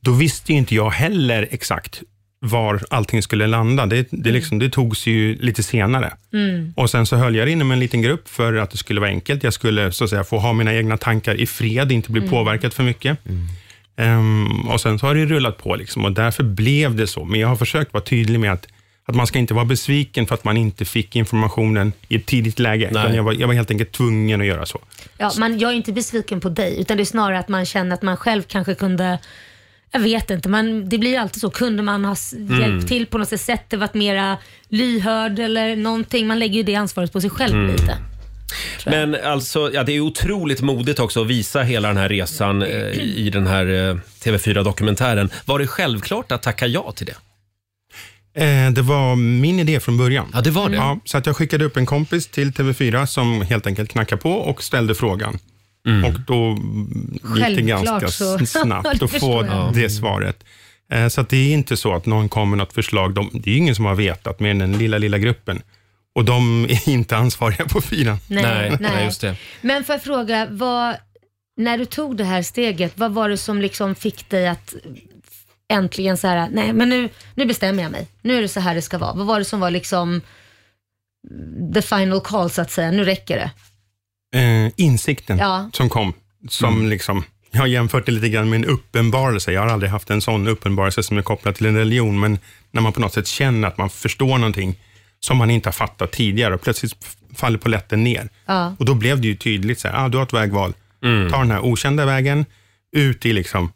N: då visste ju inte jag heller exakt var allting skulle landa. Det,
A: Mm.
N: det, liksom, det togs ju lite senare.
D: Mm.
N: Och Sen så höll jag det inom en liten grupp för att det skulle vara enkelt. Jag skulle så att säga, få ha mina egna tankar i fred, inte bli
D: Mm.
N: påverkad för mycket. Ehm, och Sen så har det rullat på liksom, och därför blev det så. Men jag har försökt vara tydlig med att, att man ska inte vara besviken för att man inte fick informationen i ett tidigt läge. Utan Jag var, jag var helt enkelt tvungen att göra så.
B: Ja, man, jag är inte besviken på dig, utan det är snarare att man känner att man själv kanske kunde jag vet inte, men det blir ju alltid så. Kunde man ha s-
D: Mm.
B: hjälpt till på något sätt, varit mera lyhörd eller någonting. Man lägger ju det ansvaret på sig själv
A: Mm.
B: lite.
A: Men alltså, ja, det är otroligt modigt också att visa hela den här resan eh, i den här eh, TV4-dokumentären. Var det självklart att tacka ja till det?
N: Eh, det var min idé från början.
A: Ja, det var det.
N: Ja, så att jag skickade upp en kompis till TV4 som helt enkelt knackade på och ställde frågan.
A: Mm.
N: Och då gick det
D: Självklart
N: ganska
D: så. [laughs]
N: s- snabbt
D: Det
N: att få
D: förstår jag.
N: det svaret. Eh, Så att det är inte så att någon kommer med något förslag. De, det är ju ingen som har vetat mer än den lilla, lilla gruppen. Och de är inte ansvariga på fyran.
B: Nej, Nej, nej. nej, just
A: det.
B: Men får jag fråga, vad, när du tog det här steget, vad var det som liksom fick dig att äntligen så här, nej men nu, nu bestämmer jag mig. Nu är det så här det ska vara. Vad var det som var liksom the final call så att säga, nu räcker det.
N: eh, insikten
B: Ja.
N: som kom. Som liksom, jag har jämfört det lite grann med en uppenbarelse. Jag har aldrig haft en sån uppenbarelse som är kopplad till en religion, men när man på något sätt känner att man förstår någonting som man inte har fattat tidigare och plötsligt f- faller polletten ner.
D: Ja.
N: Och då blev det ju tydligt, så här, ah, du har ett vägval.
D: Mm.
N: Ta den här okända vägen ut i liksom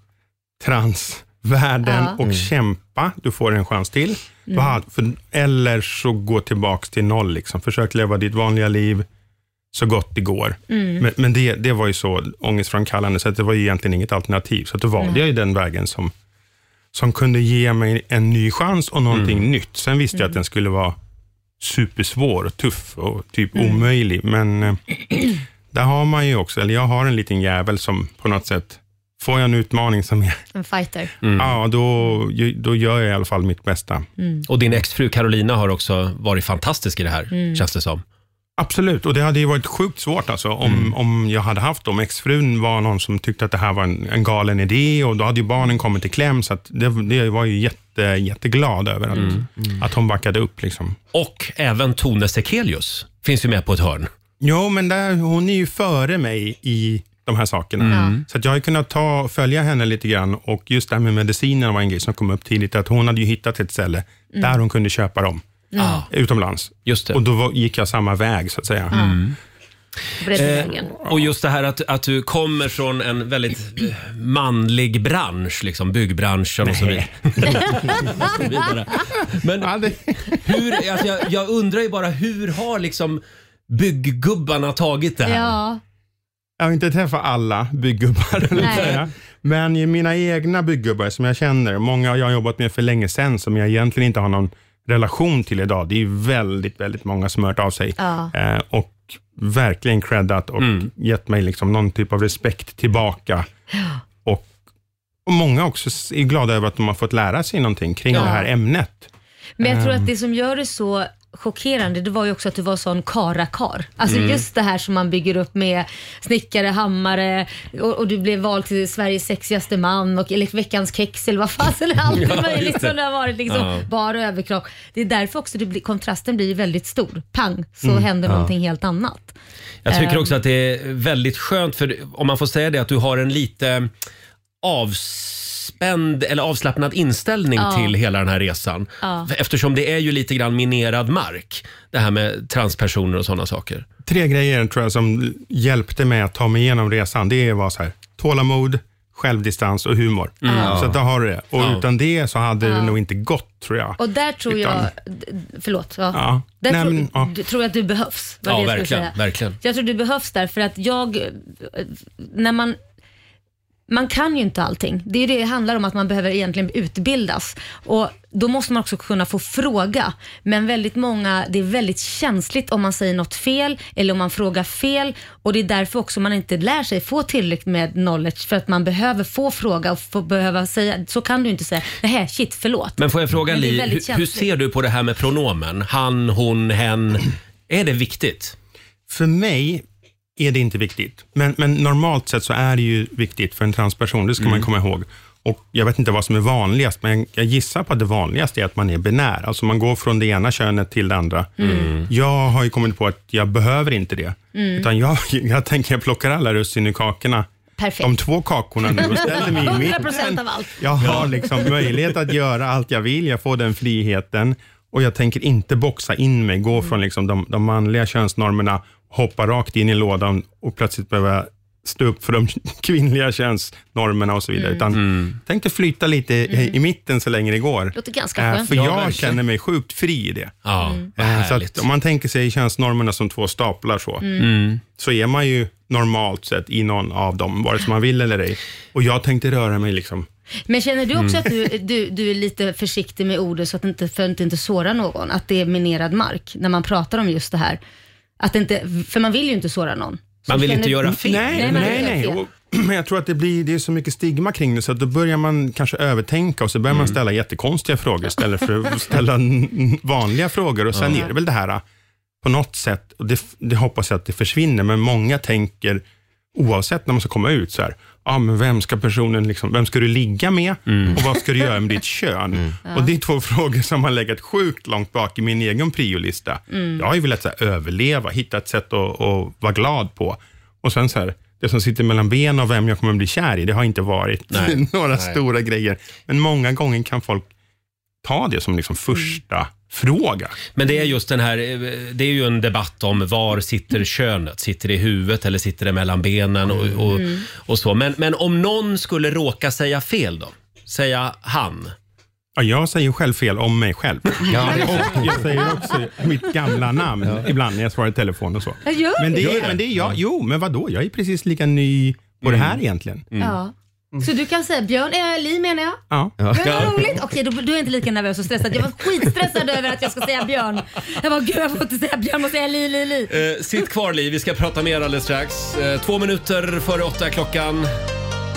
N: transvärlden
D: Ja.
N: och
D: Mm.
N: kämpa. Du får en chans till. Du
D: Mm.
N: har, för, eller så gå tillbaks till noll. Liksom. Försök leva ditt vanliga liv så gott det går.
D: Mm.
N: Men, men det, det var ju så ångestframkallande, så att det var ju egentligen inget alternativ. Så att då valde
D: Nej.
N: jag ju den vägen som, som kunde ge mig en ny chans och någonting nytt. Sen visste jag att
D: Mm.
N: den skulle vara supersvår och tuff och typ
D: Mm.
N: omöjlig. Men eh, där har man ju också, eller jag har en liten jävel som på något sätt, får jag en utmaning som är,
B: [clears throat] En fighter.
D: Mm.
N: ja, då, då gör jag i alla fall mitt bästa.
B: Mm.
A: Mm. Och din exfru Carolina har också varit fantastisk i det här,
B: Mm.
A: känns det som. Mm.
N: Absolut, och det hade ju varit sjukt svårt alltså, om, om jag hade haft dem. Exfrun var någon som tyckte att det här var en, en galen idé och då hade ju barnen kommit i kläm. Så att det, det var ju jätte, jätteglad över att,
A: Mm.
N: att hon backade upp. Liksom.
A: Och även Tone Sekelius finns ju med på ett hörn.
N: Jo, men där, hon är ju före mig i de här sakerna.
A: Mm.
N: Så att jag har ju kunnat ta, följa henne lite grann och just det här med mediciner var en grej som kom upp tidigt. Att hon hade ju hittat ett ställe
D: Mm.
N: där hon kunde köpa dem
D: Mm. Ah.
N: utomlands.
A: Just
N: Och då var, gick jag samma väg så att säga.
D: Mm.
A: Eh, och just det här att, att du kommer från en väldigt eh, manlig bransch, liksom byggbranschen och så vidare. [laughs] så [laughs] vidare. Men hur, alltså jag, jag undrar ju bara, hur har liksom bygggubbarna tagit det här?
B: Ja.
N: Jag har inte träffat alla [laughs] byggubbar, eller
D: Nej.
N: vad säga. men i mina egna byggubbar som jag känner, många har jag har jobbat med för länge sedan, som jag egentligen inte har någon relation till idag. Det är ju väldigt, väldigt många som har hört av sig
D: Ja.
N: eh, och verkligen creddat och gett mig liksom någon typ av respekt tillbaka. Och, och många också s- är glada över att de har fått lära sig någonting kring
B: Ja.
N: det här ämnet.
B: Men jag tror att
N: Ehm.
B: det som gör det så chockerande det var ju också att du var sån karakar. Alltså
O: Mm.
B: just det här som man bygger upp med snickare, hammare och, och du blev vald till Sveriges sexigaste man och eller veckans kex eller vad fasen allt
O: Ja, just
B: möjligt
O: det.
B: som det har varit. Liksom,
O: Ja.
B: Bar överkropp. Det är därför också det blir, kontrasten blir väldigt stor. Pang så
A: Mm.
B: händer
A: Ja.
B: någonting helt annat.
A: Jag tycker
B: Ehm.
A: också att det är väldigt skönt, för om man får säga det, att du har en lite avspänd eller avslappnad inställning
B: Ja.
A: till hela den här resan.
B: Ja.
A: Eftersom det är ju lite grann minerad mark, det här med transpersoner och sådana saker.
N: Tre grejer tror jag som hjälpte mig att ta mig igenom resan. Det var så här, tålamod, självdistans och humor.
B: Mm. Ja.
N: Så att där har du det. Och
B: Ja.
N: utan det så hade
B: Ja.
N: det nog inte gått tror jag.
B: Och där tror jag,
N: Utan-
B: d- förlåt, ja.
N: Ja.
B: där
N: Nej,
B: tror,
N: men, ja.
B: du, tror jag att du behövs. var det jag skulle säga.
A: verkligen.
B: Jag tror du behövs där för att jag, eh, när man man kan ju inte allting. Det är ju det det handlar om, att man behöver egentligen utbildas. Och Då måste man också kunna få fråga. Men väldigt många, det är väldigt känsligt om man säger något fel eller om man frågar fel. Och Det är därför också man inte lär sig få tillräckligt med knowledge för att man behöver få fråga och få behöva säga. Så kan du inte säga, nej shit, förlåt.
A: Men får jag fråga
B: Men det är
A: Li,
B: väldigt
A: hur, hur
B: känsligt.
A: ser du på det här med pronomen? Han, hon, hen. Är det viktigt?
N: För mig är det inte viktigt. Men, men normalt sett så är det ju viktigt för en transperson, det ska man
P: Mm.
N: komma ihåg. Och Jag vet inte vad som är vanligast, men jag gissar på att det vanligaste är att man är binär. Alltså man går från det ena könet till det andra.
P: Mm.
N: Jag har ju kommit på att jag behöver inte det.
P: Mm.
N: Utan jag, [laughs] jag tänker jag plockar alla russin ur kakorna.
B: Perfekt.
N: De två kakorna
C: [laughs]
N: nu och ställer mig i mitten.
B: 100% av allt.
N: Jag har liksom möjlighet att göra allt jag vill, jag får den friheten och jag tänker inte boxa in mig, gå från liksom de, de manliga könsnormerna, hoppa rakt in i lådan och plötsligt behöva stå upp för de [laughs] kvinnliga könsnormerna och så vidare.
B: Mm.
N: Utan tänk att flyta lite i, i mitten så länge det går.
B: Låter ganska
N: Eh,
B: skönt.
N: För
B: Ja,
N: jag
B: verkligen.
N: känner mig sjukt fri i det.
B: Mm.
A: vad
N: Eh, Så
A: härligt.
N: att om man tänker sig könsnormerna som två staplar så,
A: Mm. Mm.
N: så är man ju normalt sett i någon av dem, vare sig man vill eller ej. Och jag tänkte röra mig liksom
B: Men känner du
N: Mm.
B: också att du, du, du är lite försiktig med orden så att inte, för att inte såra någon? Att det är minerad mark när man pratar om just det här? Att det inte, för man vill ju inte såra någon. Så
N: Man vill
B: känner- Mm,
N: inte göra fel.
B: Nej, man vill inte göra fel.
N: [clears throat] Men jag tror att det, blir, det är så mycket stigma kring det, så att då börjar man kanske övertänka och så börjar man ställa jättekonstiga frågor istället för att [laughs] ställa n- n- vanliga frågor. Och Sen
P: Ja.
N: är det väl det här ah, på något sätt, och det, f- det hoppas jag att det försvinner, men många tänker oavsett när man ska komma ut så här, ah, men vem ska personen liksom, vem ska du ligga med och vad ska du göra med [laughs] ditt kön?
P: Ja.
N: Och Det är två [laughs] frågor som har legat sjukt långt bak i min egen priolista.
P: Mm.
N: Jag har ju velat så här, överleva, hitta ett sätt att, att vara glad på. Och sen så här, det som sitter mellan benen och vem jag kommer bli kär i, det har inte varit
P: Nej.
N: [laughs] några
P: Nej.
N: stora grejer. Men många gånger kan folk ta det som liksom första fråga.
A: Men det är just den här, eh, det är ju en debatt om var sitter könet? Sitter det i huvudet eller sitter det mellan benen och, och,
P: Mm.
A: och så? Men, men om någon skulle råka säga fel då? Säga han?
N: Ja, jag säger ju själv fel om mig själv.
A: Ja.
N: Och [laughs] jag säger också mitt gamla namn ibland när jag svarar i telefon och så.
B: Ja, gör
N: Men det
B: du?
N: är, men det är jag, jo, men vadå, jag är precis lika ny på det här egentligen.
B: Ja. Så du kan säga Björn, äh, Li menar jag.
N: Ja.
B: Men vad roligt! Okej, då- du är inte lika nervös och stressad. Jag var skitstressad över att jag ska säga Björn. Jag var gud jag får inte säga Björn, jag måste säga Li, Li, Li.
A: Eh, sitt kvar Li, vi ska prata mer alldeles strax. Eh, två minuter före åtta är klockan.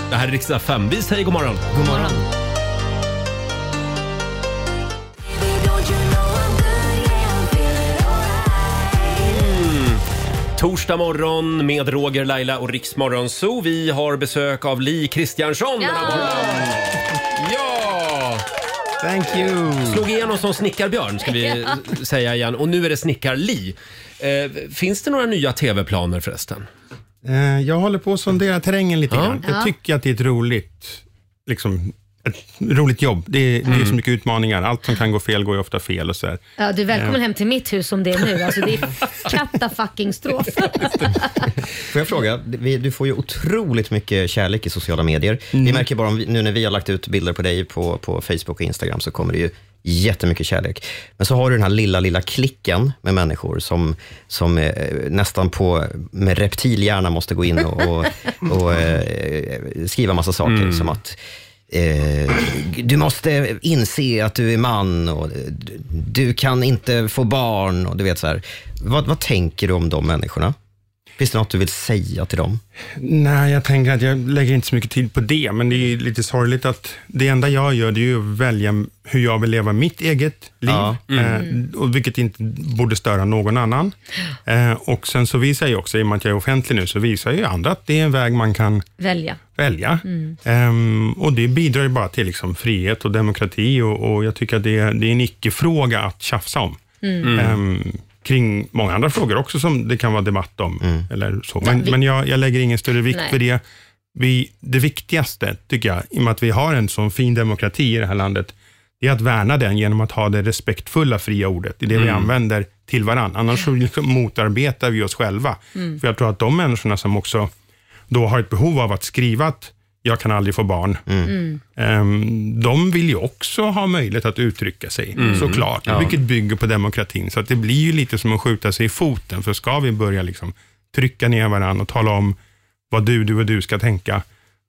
A: Det här är riksdag 5. Vi säger god morgon. God morgon. Mm. Torsdag morgon med Roger, Laila och Riksmorgon Zoo. Vi har besök av Li Kristiansson den här morgonen. Ja!
N: Thank you!
A: Slog igenom som snickarbjörn ska vi
B: [laughs] Ja.
A: säga igen. Och nu är det snickar-Li. Eh, finns det några nya tv-planer förresten?
N: Eh, Jag håller på att sondera terrängen lite
A: Ja.
N: grann. Jag
A: Ja.
N: tycker att det är ett roligt, liksom, ett roligt jobb. Det är, det är så mycket utmaningar. Allt som kan gå fel går ju ofta fel. Och så här.
B: Ja, du är välkommen
N: Eh,
B: hem till mitt hus om det är nu. Alltså, det är katta fucking strof.
C: Får jag fråga, vi- du får ju otroligt mycket kärlek i sociala medier. Vi märker bara om vi, nu när vi har lagt ut bilder på dig på, på Facebook och Instagram så kommer det ju jättemycket kärlek. Men så har du den här lilla, lilla klicken med människor som, som eh, nästan på, med reptilhjärna måste gå in och, och, [laughs] och eh, skriva massa saker som att Eh, du måste inse att du är man och du, du kan inte få barn och du vet så här. Vad, vad tänker du om de människorna? Finns det något du vill säga till dem?
N: Nej, jag tänker att jag lägger inte så mycket tid på det, men det är ju lite sorgligt att det enda jag gör det är ju att välja hur jag vill leva mitt eget liv,
C: Ja. Mm.
N: eh, och vilket inte borde störa någon annan. Eh, och sen så visar jag ju också, i och med att jag är offentlig nu, så visar jag ju andra att det är en väg man kan
B: Välja.
A: Ah.
N: välja.
B: Mm.
N: Ehm, och det bidrar ju bara till liksom frihet och demokrati och, och jag tycker att det är, det är en icke-fråga att tjafsa om.
B: Mm.
N: Ehm, kring många andra frågor också som det kan vara debatt om. Eller så. Men,
B: Ja, vi-
N: men jag, jag lägger ingen större vikt
B: Nej.
N: vid det. Vi, det viktigaste, tycker jag, i och med att vi har en sån fin demokrati i det här landet, det är att värna den genom att ha det respektfulla fria ordet. Det är det vi
O: Mm.
N: använder till varandra. Annars så liksom motarbetar vi oss själva.
O: Mm.
N: För jag tror att de människorna som också då har ett behov av att skriva att jag kan aldrig få barn,
O: Mm.
N: ehm, de vill ju också ha möjlighet att uttrycka sig,
O: Mm.
N: såklart,
O: Ja.
N: vilket bygger på demokratin. Så att det blir ju lite som att skjuta sig i foten, för ska vi börja liksom trycka ner varandra och tala om vad du, du och du ska tänka,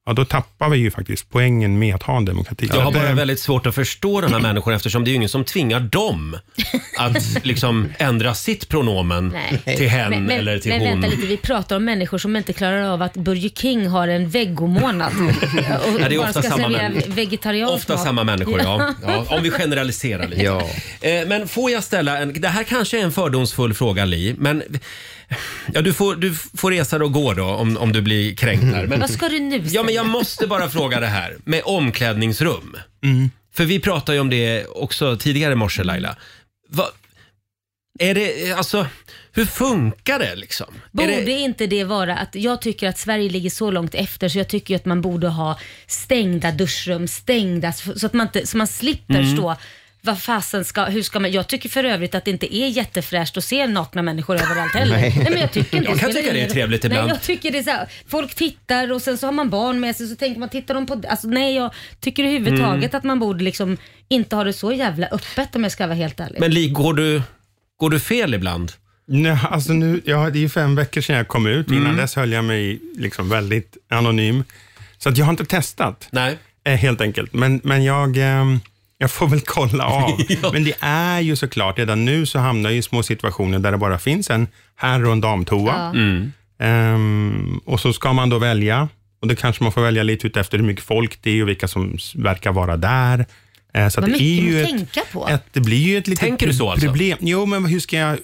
N: ja, då tappar vi ju faktiskt poängen med att ha en demokrati.
A: Jag har
N: Så att,
A: bara
N: eh,
A: väldigt svårt att förstå de här människorna eftersom det är ju ingen som tvingar dem
N: [laughs]
A: att liksom ändra sitt pronomen
B: Nej.
A: till hen
B: men, men,
A: eller till
B: men
A: hon.
B: vänta lite, vi pratar om människor som inte klarar av att Burger King har en vegomånad. och
A: Mm. Ja, det är
B: bara
A: ofta
B: ska
A: samma
B: servera
A: människor.
B: vegetariansk
A: Ofta
B: mat.
A: samma människor, ja. ja. Om vi generaliserar lite.
B: Ja.
A: Eh, Men får jag ställa en... Det här kanske är en fördomsfull fråga, Li, men... Ja, du, får, du får resa dig och gå då om, om du blir kränkt här. Men,
B: Vad ska du nu
A: Ja, men jag
B: säga?
A: måste bara fråga det här med omklädningsrum.
N: Mm.
A: För vi pratade ju om det också tidigare i morse, Laila. Va, är det, alltså, hur funkar det liksom? Är
B: Borde
A: det,
B: inte det vara att jag tycker att Sverige ligger så långt efter så jag tycker ju att man borde ha stängda duschrum, stängda så att man, inte, så man slipper
P: Mm.
B: stå vad fasen ska, hur ska man, jag tycker för övrigt att det inte är jättefräscht att se nakna människor överallt heller.
A: Nej.
B: Nej. men jag tycker inte
A: Jag kan
B: spelar
A: tycka det är
B: ingen-
A: trevligt
B: nej,
A: ibland.
B: Jag tycker det är så här, folk tittar och sen så har man barn med sig så tänker man, tittar de på, alltså nej jag tycker överhuvudtaget
A: Mm.
B: att man borde liksom inte ha det så jävla öppet om jag ska vara helt ärlig.
A: men Li, går du, går du fel ibland?
N: Nej, alltså nu, ja, det är ju fem veckor sedan jag kom ut. Innan
A: Mm.
N: dess höll jag mig liksom väldigt anonym. Så att jag har inte testat, eh,
A: Nej.
N: helt enkelt. Men, men jag, eh, jag får väl
A: [laughs]
N: kolla av. Men det är ju såklart, redan nu så hamnar jag i små situationer där det bara finns en herr och en damtoa.
O: Ja. Mm.
N: Ehm, och så ska man då välja. Och då kanske man får välja lite ut efter hur mycket folk det är och vilka som s- verkar vara där. Eh, så att det är
B: Vad mycket
N: ju ett,
B: att tänka på.
N: ett, det blir ju ett litet
A: Tänker du så alltså?
N: problem. Jo, men hur ska jag,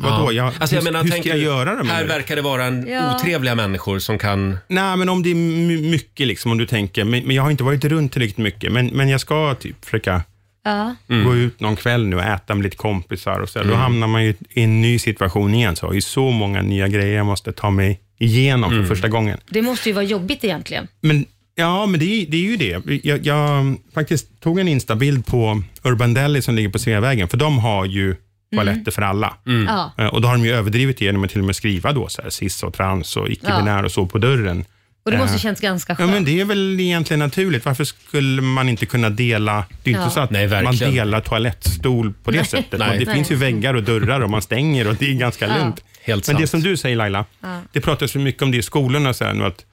N: vadå? Jag,
A: alltså, jag
N: hur,
A: menar,
N: hur ska
A: tänker
N: jag
A: du,
N: göra det? menar
A: Här
N: du?
A: verkar det vara en
N: Ja.
A: otrevliga människor som kan...
N: Nej, men om det är my- mycket, liksom, om du tänker, men, men jag har inte varit runt tillräckligt mycket, men, men jag ska typ försöka
B: Ja.
A: Mm.
N: gå ut någon kväll nu och äta med lite kompisar och så. Då
O: Mm.
N: hamnar man ju i en ny situation igen. Så jag har ju så många nya grejer jag måste ta mig igenom
A: Mm.
N: för första gången.
B: Det måste ju vara jobbigt egentligen.
N: Men, ja, men det, är- det är ju det. Jag, jag faktiskt tog en instabild på Urban Deli som ligger på Sveavägen, för de har ju toaletter för alla.
B: Ja.
N: Eh, Och då har de ju överdrivit det genom att till och med skriva då så här, cis och trans och icke-binär och så på dörren.
B: Och det måste
N: Eh,
B: känns ganska skönt.
N: Ja, men det är väl egentligen naturligt. Varför skulle man inte kunna dela? Det är ju
B: Ja.
N: inte så att
A: Nej,
N: man
A: verkligen.
N: delar toalettstol på det
A: Nej.
N: sättet.
A: Nej.
N: Det
A: Nej.
N: finns ju väggar och dörrar och man stänger och det är ganska
A: Ja.
N: lugnt.
A: Helt
N: men det
A: sant.
N: som du säger Laila,
A: Ja.
N: det pratas ju mycket om det i skolorna så här nu att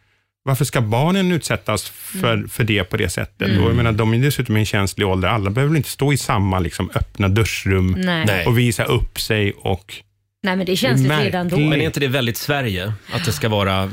N: varför ska barnen utsättas för, för det på det sättet?
O: Mm.
N: Och jag menar, de är dessutom i en känslig ålder. Alla behöver väl inte stå i samma liksom, öppna duschrum
B: Nej. Nej.
N: och visa upp sig och
B: Nej men det känns lite redan då.
A: Men är inte det väldigt Sverige? Att det ska vara, eh,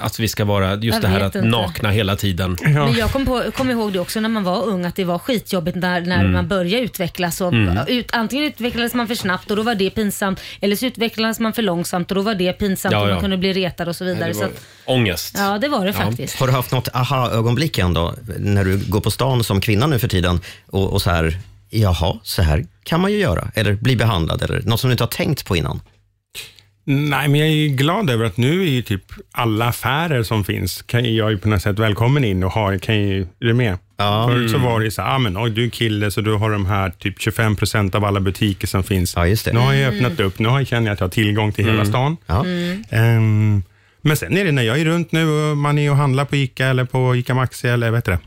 A: att vi ska vara just
B: Jag
A: det här
B: vet
A: att
B: inte.
A: nakna hela tiden.
B: Men jag kom, på, kom ihåg det också när man var ung, att det var skitjobbigt när, när
A: Mm.
B: man började utvecklas. Och,
A: Mm.
B: ut, antingen utvecklades man för snabbt och då var det pinsamt, eller så utvecklades man för långsamt och då var det pinsamt
C: Ja,
B: och
C: ja.
B: man kunde bli retad och så vidare.
C: Nej, det
B: så
C: var-
B: att,
A: Ångest.
B: ja, det var det faktiskt.
C: Har du haft något aha-ögonblick än då? När du går på stan som kvinna nu för tiden och, och så här, jaha, så här kan man ju göra. Eller bli behandlad, eller något som du inte har tänkt på innan.
N: Nej, men jag är ju glad över att nu är ju typ alla affärer som finns, kan ju jag ju på något sätt välkommen in och har, kan ju, är du med? Ja. Förut så
O: Mm.
N: var det ju så här, ah, men oj, du är kille så du har de här typ 25 procent av alla butiker som finns. Ja, just
O: det.
N: Nu har jag
O: Mm.
N: öppnat upp, nu har jag, känner jag att jag har tillgång till hela
O: Mm.
N: stan.
O: Ja. Mm.
N: Ehm, men sen är det när jag är runt nu och man är och handlar på ICA eller på ICA Maxi eller vad heter det?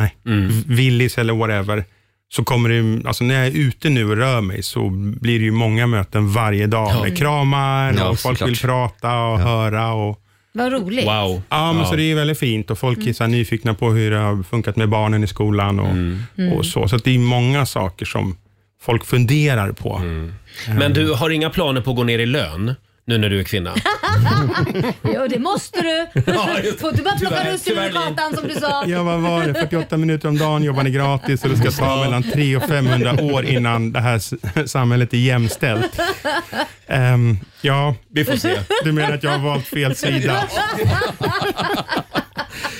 N: Nej,
O: Mm.
N: Willys eller whatever. Så kommer det, ju- alltså när jag är ute nu och rör mig så blir det ju många möten varje dag
O: Ja.
N: med kramar
O: Ja,
N: och folk
O: såklart.
N: vill prata och höra. Och,
B: Vad roligt.
N: Ja, men
O: Ja.
N: så det är väldigt fint och folk är
B: Mm.
N: så här nyfikna på hur det har funkat med barnen i skolan och,
A: Mm.
N: och så. Så att det är många saker som folk funderar på.
A: Mm.
N: Eh.
A: Men du har inga planer på att gå ner i lön? nu när du är
B: [laughs]
A: kvinna.
B: jo, det måste du.
A: Ja, just-
B: Får du bara plocka
A: tyvärr,
B: russin ur
A: tyvärr, Lin.
B: gatan som du
A: [laughs]
B: sa.
N: Ja, vad var det? 48 minuter om dagen jobbar ni gratis och det ska ta mellan 300 och 500 år innan det här s- samhället är jämställt. Ehm, ja, vi
A: får se.
N: Du menar att jag har valt fel
D: [laughs]
B: [laughs]
N: sida?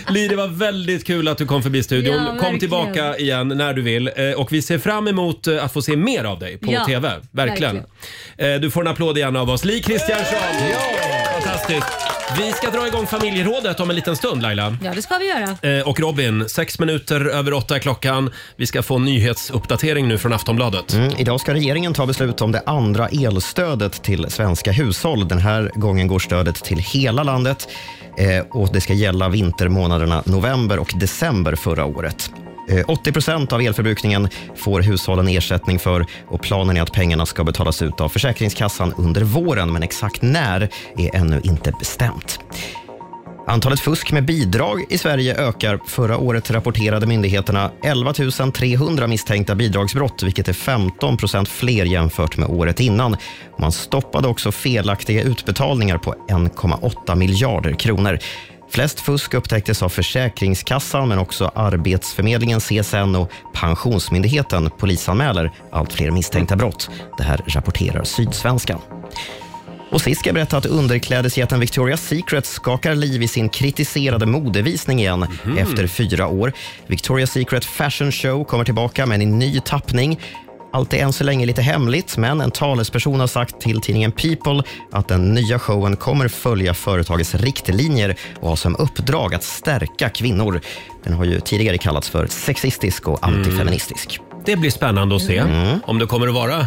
A: Li, det var väldigt kul att du kom förbi studion.
B: Ja,
A: kom
B: verkligen.
A: tillbaka igen när du vill. Eh, Och vi ser fram emot eh, att få se mer av dig på
B: Ja,
A: TV. Verkligen. Eh, Du får en applåd igen av oss. Li Kristiansson! Fantastiskt. Vi ska dra igång familjerådet om en liten stund Laila.
B: Ja, det ska vi göra.
A: Eh, Och Robin, sex minuter över åtta är klockan. Vi ska få en nyhetsuppdatering nu från Aftonbladet.
C: Mm, idag ska regeringen ta beslut om det andra elstödet till svenska hushåll. Den här gången går stödet till hela landet eh, och det ska gälla vintermånaderna november och december förra året. Eh, 80 procent av elförbrukningen får hushållen ersättning för och planen är att pengarna ska betalas ut av Försäkringskassan under våren, men exakt när är ännu inte bestämt. Antalet fusk med bidrag i Sverige ökar. Förra året rapporterade myndigheterna 11 300 misstänkta bidragsbrott, vilket är 15 procent fler jämfört med året innan. Man stoppade också felaktiga utbetalningar på 1,8 miljarder kronor. Flest fusk upptäcktes av Försäkringskassan, men också Arbetsförmedlingen, CSN och Pensionsmyndigheten polisanmäler allt fler misstänkta brott. Det här rapporterar Sydsvenskan. Och sist ska jag berätta att underklädesjätten Victoria's Secret skakar liv i sin kritiserade modevisning igen efter fyra år. Victoria's Secret Fashion Show kommer tillbaka men i ny tappning. Allt är än så länge lite hemligt, men en talesperson har sagt till tidningen People att den nya showen kommer följa företagets riktlinjer och ha som uppdrag att stärka kvinnor. Den har ju tidigare kallats för sexistisk och antifeministisk.
A: Det blir spännande att se
C: Mm.
A: om det kommer att vara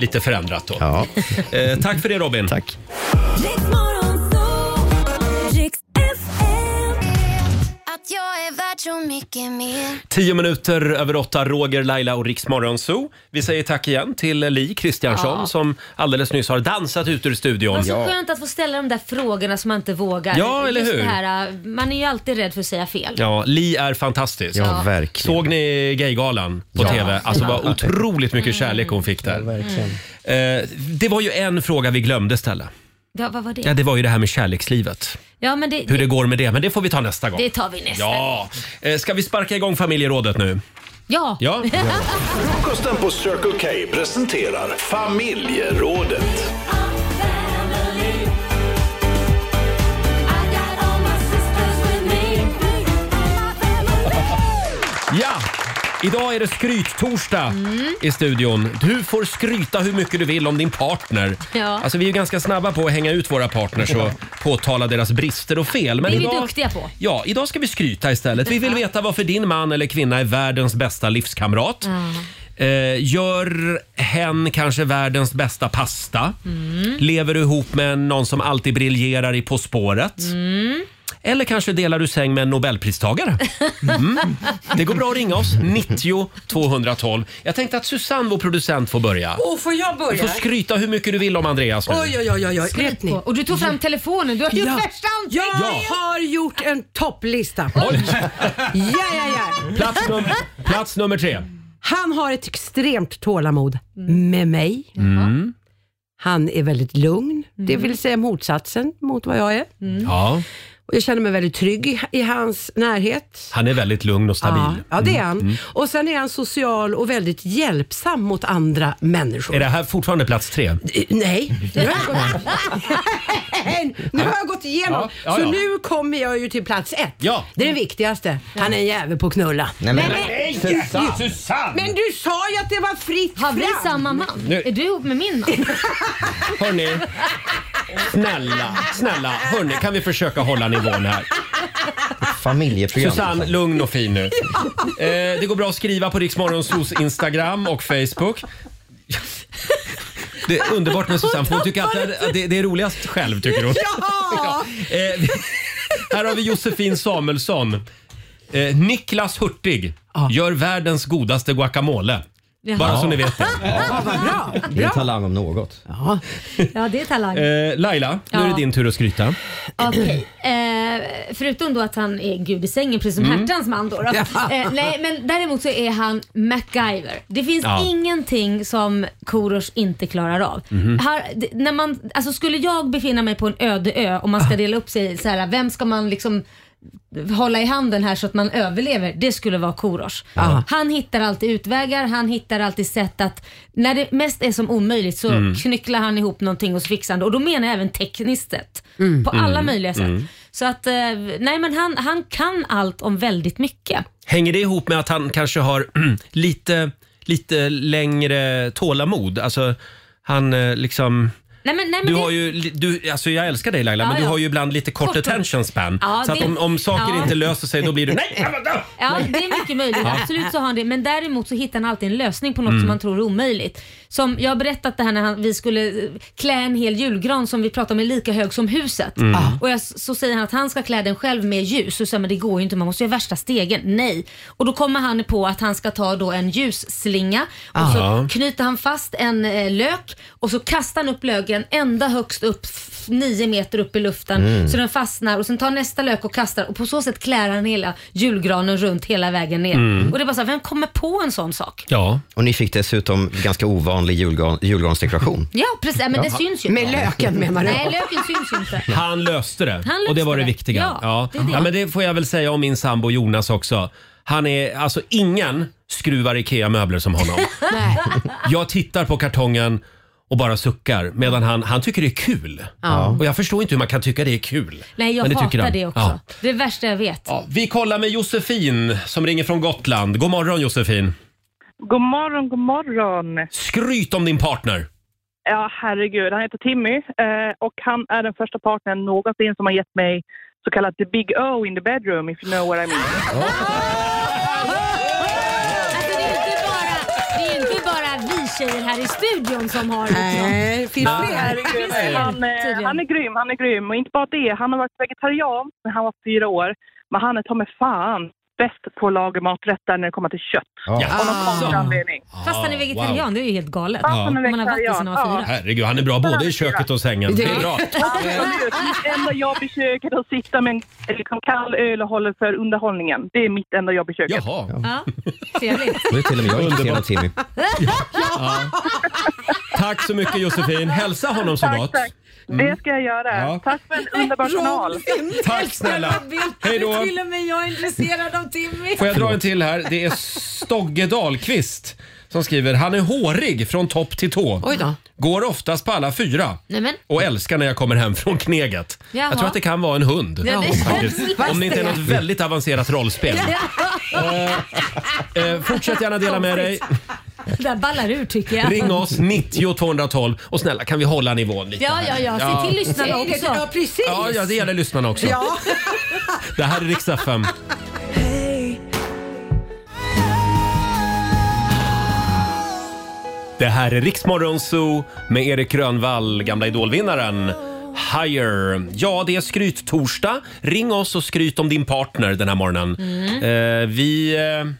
A: lite förändrat då. [laughs] Eh, tack för det Robin.
C: Tack.
O: Att jag är värd så mycket mer
A: Tio minuter över åtta, Roger, Laila och Riksmorgon Zoo. Vi säger tack igen till Li Kristiansson
B: Ja.
A: som alldeles nyss har dansat ut ur studion.
B: Vad så Alltså, skönt att få ställa de där frågorna som man inte vågar.
A: Ja, eller
B: Just
A: hur?
B: Det här, äh, man är ju alltid rädd för att säga fel.
A: Ja, Li är fantastisk.
B: Ja, Ja.
C: verkligen.
A: Såg ni Gaygalan på
B: Ja.
A: TV? Alltså vad
B: Ja.
A: otroligt mycket kärlek hon fick där. Eh, det var ju en fråga vi glömde ställa.
B: Ja, vad var det?
A: Ja, det var ju det här med kärlekslivet.
B: Ja, men det,
A: Hur det går med det, men det får vi ta nästa gång.
B: det tar vi nästa.
A: Ja! Eh, Ska vi sparka igång familjerådet nu?
B: Ja.
A: Ja.
P: Frukosten på Circle K presenterar familjerådet.
A: Ja! Idag är det skryttorsdag
B: Mm.
A: i studion. Du får skryta hur mycket du vill om din partner.
B: Ja.
A: Alltså, vi är ju ganska snabba på att hänga ut våra partners och påtala deras brister och fel. Men
B: det är vi
A: idag,
B: duktiga på.
A: ja, idag ska vi skryta istället. Vi vill veta varför din man eller kvinna är världens bästa livskamrat. Eh, gör hen kanske världens bästa pasta?
D: Mm.
A: Lever du ihop med någon som alltid briljerar i På spåret?
D: Mm.
A: Eller kanske delar du säng med en nobelpristagare? Mm. Det går bra att ringa oss, 90 212. Jag tänkte att Susanne, vår producent, får börja.
F: Åh, får jag
A: Du
F: börja?
A: får skryta hur mycket du vill om Andreas nu.
F: Oj, oj, oj, oj, oj.
B: Skryt
F: Vet ni?
B: på. Och du tog fram telefonen. Du har gjort
F: Ja.
B: värsta
F: Jag
A: Ja.
F: har gjort en topplista. Ja, ja, ja.
A: Plats, num plats nummer tre.
F: Han har ett extremt tålamod med mig.
A: Mm.
F: Han är väldigt lugn, det vill säga motsatsen mot vad jag är.
B: Mm.
A: Ja,
F: Och jag känner mig väldigt trygg i, i hans närhet.
A: han är väldigt lugn och stabil.
F: Ja, ja, det är han.
A: Mm.
F: Och sen är han social och väldigt hjälpsam mot andra människor.
A: Är det här fortfarande plats tre?
F: Eh, Nej, nu har jag gått, [laughs] nu har jag gått igenom.
A: Ja, ja,
F: så
A: ja.
F: nu kommer jag ju till plats ett.
A: Ja.
F: Det är det viktigaste. Han är en jävel på att knulla.
A: Nej, men- Nej, men- Susanne! Susanne!
F: Men du sa ju att det var fritt
B: Har vi
F: fram.
B: samma man?
A: Nu-
B: Är du ihop med min man?
A: Hörni, snälla, snälla. Hörni, kan vi försöka hålla nivån här?
C: Familjeprogram.
A: Susanne, lugn och fin nu. Eh, det går bra att skriva på Riksmorgonsos Instagram och Facebook. Det är underbart med Susanne, för hon tycker att det, att det, det är roligast själv. tycker hon.
D: Ja!
A: Eh, vi- här har vi Josefin Samuelsson. Eh, Niklas Hurtig gör världens godaste guacamole.
B: Jaha.
A: Bara så ni vet det.
B: Ja, vad bra.
C: Det är talang om något.
B: Ja, det är talang.
A: Eh, Laila, nu är det
B: Ja.
A: din tur att skryta.
B: Okej. Eh, förutom då att han är gud i sängen, precis som
A: Mm.
B: Hertans man. Då, då.
A: Ja.
B: Eh, nej, men däremot så är han MacGyver. Det finns
D: Ja.
B: ingenting som Korosh inte klarar av.
A: Mm.
D: Mhm.
B: Här, d- när man, alltså skulle jag befinna mig på en öde ö och man
A: Ah.
B: ska dela upp sig så här, vem ska man liksom hålla i handen här så att man överlever, det skulle vara Korosh.
A: Ah.
D: Aha.
B: Han hittar alltid utvägar, han hittar alltid sätt att när det mest är som omöjligt så
D: Mm.
B: knycklar han ihop någonting och så fixar han det. Och då menar jag även tekniskt sett.
D: Mm.
B: På alla
A: Mm.
B: möjliga sätt.
A: Mm.
B: Så att, eh, nej men han, han kan allt om väldigt mycket.
A: Hänger det ihop med att han kanske har [clears throat] lite, lite längre tålamod? Alltså, han eh, liksom...
B: Nej, men, nej, men
A: Du
B: det-
A: har ju, li- du, alltså jag älskar dig Laila,
B: Ja,
A: men du
B: ja.
A: har ju ibland lite kort,
B: Kort och-
A: attention span.
B: Ja,
A: så att
B: det-
A: om, om saker
B: ja.
A: inte löser sig då blir du nej!
B: [laughs] Ja, det är mycket möjligt.
A: Ja.
B: Absolut så har han det. Men däremot så hittar han alltid en lösning på något
A: Mm.
B: som han tror är omöjligt. Som jag har berättat det här när han, vi skulle eh, klä en hel julgran som vi pratade om är lika hög som huset.
D: Mm. Ah.
B: Och jag, så säger han att han ska klä den själv med ljus. Och så säger jag, men det går ju inte, man måste ju ha värsta stegen. Nej. Och då kommer han på att han ska ta då en ljusslinga och
D: Ah.
B: så knyter han fast en eh, lök och så kastar han upp löken ända högst upp, f- nio meter upp i luften.
D: Mm.
B: Så den fastnar och sen tar nästa lök och kastar och på så sätt klär han hela julgranen runt hela vägen ner.
C: Mm.
B: Och det är bara så här, vem kommer på en sån sak?
A: Ja.
C: Och ni fick dessutom ganska ovanlig julgran,
B: [laughs]
C: julgransdekoration.
B: Ja precis, men det
C: Ja.
B: syns ju inte.
C: Med löken, menar du?
B: Nej, löken syns ju inte.
A: Han löste det
B: Han löste
A: och det var det,
B: det.
A: viktiga.
B: Ja, det är det.
A: ja, men det får jag väl säga om min sambo Jonas också. Han är, alltså ingen skruvar IKEA-möbler som honom. Jag tittar på kartongen och bara suckar medan han, han tycker det är kul.
B: Ja.
A: Och jag förstår inte hur man kan tycka det är kul.
B: Nej, jag
A: Men det tycker
B: hatar
A: han.
B: det också.
A: Ja.
B: Det är det värsta jag vet.
A: Ja, vi kollar med Josefin som ringer från Gotland. God morgon Josefin.
L: God morgon, god morgon.
A: Skryt om din partner.
L: Ja, herregud. Han heter Timmy eh, och han är den första partnern någonsin som har gett mig så kallat the big O in the bedroom, if you know what I mean.
B: Det är inte bara vi tjejer här i studion som har liksom-
L: Nej,
B: finns
L: han,
B: fler?
L: herregud,
B: Nej.
L: han, eh, han är grym, han är grym. Och inte bara det, han har varit vegetarian när han var fyra år. Men han är ta mig fan bäst på att laga maträtter när det kommer till kött. Av någon konstig anledning.
B: Fast han är vegetarian, det är ju helt galet.
A: Ah. Fast han är
B: Om man har varit det sedan han var fyra.
A: Herregud, han är bra både i köket och sängen. Det är bra.
L: Absolut. Mitt enda jobb i köket är att sitta med en liksom, kall öl och hålla för underhållningen. Det är mitt enda jobb i köket.
B: Ja, trevligt.
C: Nu är till och med jag intresserad av
A: Underbart.
C: Timmy.
A: Ja. Tack så mycket Josefin. Hälsa honom så gott. Mm.
L: Tack. Det ska jag göra.
A: Ja.
L: Tack för en underbar kanal.
A: Tack snälla. Hej då.
B: Till och med jag är intresserad av Timmy.
A: Får jag dra en till här? Det är Stogge Dahlqvist som skriver “Han är hårig från topp till tå.
B: Oj då.
A: Går oftast på alla fyra.
B: Nej, men.
A: Och älskar när jag kommer hem från kneget.
B: Jaha.
A: Jag tror att det kan vara en hund.
B: Ja, det
A: faktiskt.
B: känns
A: Om det inte är något
B: det.
A: väldigt avancerat rollspel. Ah. Eh, fortsätt gärna dela med dig.
B: Det [laughs] där ballar ur tycker jag.
A: Ring oss 90 212 och snälla kan vi hålla nivån lite?
B: Ja, ja, ja. Se till lyssnarna
D: Säg det.
B: också.
D: Ja,
B: precis.
A: Ja, ja, det gäller lyssnarna också.
D: Ja.
A: [laughs] Det här är riksdag 5. Det här är Riksmorgon Zoo med Erik Grönvall, gamla idolvinnaren. Higher. Ja, det är skryttorsdag. Ring oss och skryt om din partner den här morgonen.
D: Mm.
A: Eh, vi... Eh,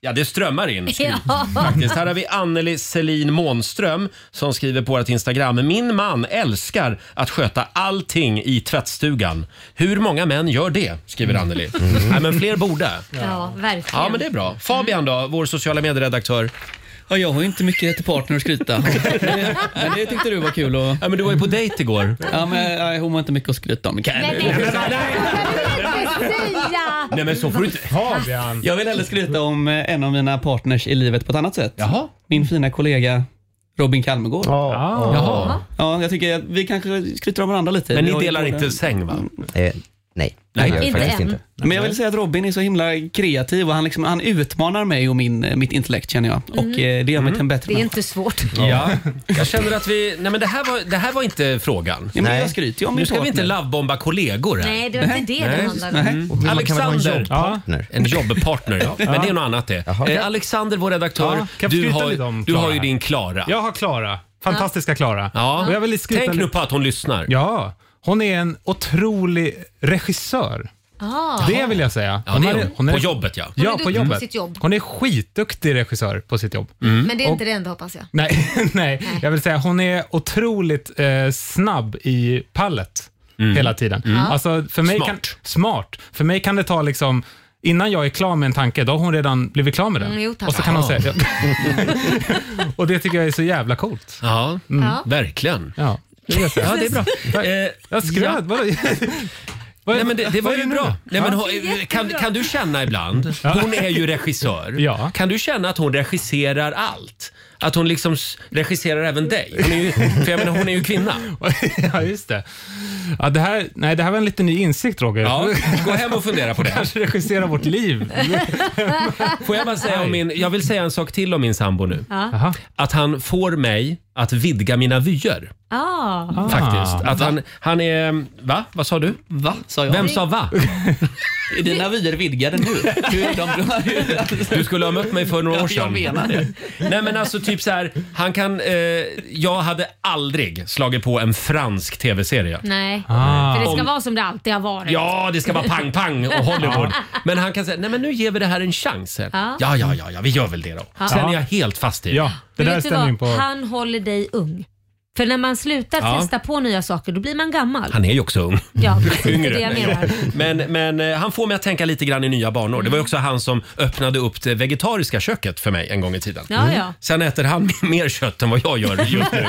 A: ja, det strömmar in skryt
D: Ja.
A: Ehm, faktiskt. Här har vi Anneli Selin Månström som skriver på vårt Instagram. Min man älskar att sköta allting i tvättstugan. Hur många män gör det? Skriver Anneli.
C: Mm.
A: Nej, men fler borde.
B: Ja, verkligen.
A: Ja, men det är bra. Fabian då, vår sociala medieredaktör.
J: Ja, jag har ju inte mycket till partner att skryta. [laughs] Men det tyckte du var kul att...
A: Ja, men du var ju på dejt igår.
J: Ja, men nej, hon har inte mycket att skryta om. Kan jag-
D: Nej,
J: Nej,
D: men-
J: men-
D: Säga!
J: Nej, men så får du inte-
A: Fabian!
J: Jag vill hellre skryta om eh, en av mina partners i livet på ett annat sätt. Min fina kollega Robin Kalmegård.
A: Ah. Jaha.
J: Ja, jag tycker att vi kanske skryter om varandra lite.
A: Men
J: Vi
A: ni
J: har ju
A: delar
J: båda-
A: inte säng va?
C: Eh, nej,
J: Nej,
C: det gör jag
J: inte
C: faktiskt
J: än.
C: inte.
J: Mm. Men jag vill säga att Robin är så himla kreativ och han, liksom, han utmanar mig och min, eh, mitt intellekt känner jag. Och
B: Mm.
J: eh, det gör mig till en bättre
B: Det är
J: människa.
B: inte svårt.
A: Ja. Jag känner att vi... Nej men det här var, det här var inte frågan.
J: men Nej. jag skryter ju om
A: Nu
J: min
A: ska vi inte
J: partner.
A: lovebomba kollegor här.
B: Nej, det var inte det det handlade om.
A: Mm.
C: Och hur man kan vara en
A: Alexander.
C: jobbpartner.
A: Ja. En jobbpartner, ja. Men
K: Ja.
A: det är något annat det. Eh, Alexander, vår redaktör.
K: Ja, kan jag få
A: du
K: skryta
A: har,
K: lite om
A: du har
K: Klara
A: ju
K: här?
A: din Klara.
K: Jag har Klara. Fantastiska Klara.
A: Ja.
K: Och jag vill skryta
A: Tänk nu
K: lite-
A: på att hon lyssnar.
K: Ja, hon är en otrolig regissör.
B: Ah.
K: Det vill jag säga.
A: Ja, det är hon. På
K: är-
A: jobbet, ja.
K: Ja,
B: Hon är
K: på
B: duktig på
K: jobbet.
B: sitt jobb.
K: Hon är skitduktig regissör på sitt jobb.
A: Mm.
B: Men det är
K: Och-
B: inte det enda hoppas jag.
K: Nej, [laughs] nej, jag vill säga hon är otroligt eh, snabb i pallet hela tiden.
A: Mm.
K: Alltså, för mig Kan,
A: Smart.
K: smart. För mig kan det ta liksom Innan jag är klar med en tanke, då har hon redan blivit klar med den.
B: Mm, jo, tack.
K: och så kan hon
A: Jaha.
K: säga... [laughs] och det tycker jag är så jävla coolt. Mm.
A: Ja,
B: Ja.
A: verkligen.
K: Ja, det, vill jag säga.
A: Ja, det är bra. Eh,
K: Jag skröt,
A: ja.
K: vadå? Vad-
A: Nej, men det, det var
K: vad är
A: ju
K: nu
A: bra.
K: då?
A: Nej, men,
K: Ja.
A: hon- eh, kan, kan du känna ibland,
K: Ja.
A: hon är ju regissör, kan du känna att hon regisserar allt? Att hon liksom s- regisserar även dig? Hon är ju, för jag menar, hon är
K: [laughs]
A: ju kvinna.
K: ja, just det. Ja, det, här, nej, det här var en lite ny insikt, Roger.
A: Ja, gå hem och fundera på det.
K: [laughs] Kanske regissera vårt liv.
A: Får jag bara säga om min, jag vill säga en sak till om min sambo nu.
B: Ja.
A: Att han får mig att vidga mina vyer.
B: Ah.
A: Faktiskt. Att han, han är... Va? Vad sa du?
J: Va? Sa jag.
A: Vem sa va?
J: [laughs] Är dina vyer vidgade nu? Du, är de,
A: Du skulle ha mött mig för några
J: Ja,
A: år sedan.
J: jag menar det.
A: Nej men alltså typ så här, han kan... Eh, jag hade aldrig slagit på en fransk tv-serie.
B: Nej,
A: Ah.
B: för det ska
A: Om-
B: vara som det alltid har varit.
A: Ja, det ska
B: [laughs]
A: vara pang-pang och Hollywood. Men han kan säga, nej men nu ger vi det här en chans.
B: Ja.
A: Ja, ja, ja, ja vi gör väl det då.
B: Ja.
A: Sen är
B: Ja.
A: jag helt fast i det.
K: Ja,
B: Men vet du vad? Han håller dig ung. För när man slutar
A: Ja.
B: testa på nya saker, då blir
A: [laughs]
B: man gammal.
A: Han är ju också ung.
B: Ja, precis. Det är
A: Yngre.
B: det jag menar.
A: Men, men eh, han får mig att tänka lite grann i nya banor. Det var ju också han som öppnade upp det vegetariska köket för mig en gång i tiden.
B: Ja, Mm. ja.
A: Sen äter han [laughs] mer kött än vad jag gör just
C: [laughs]
A: nu.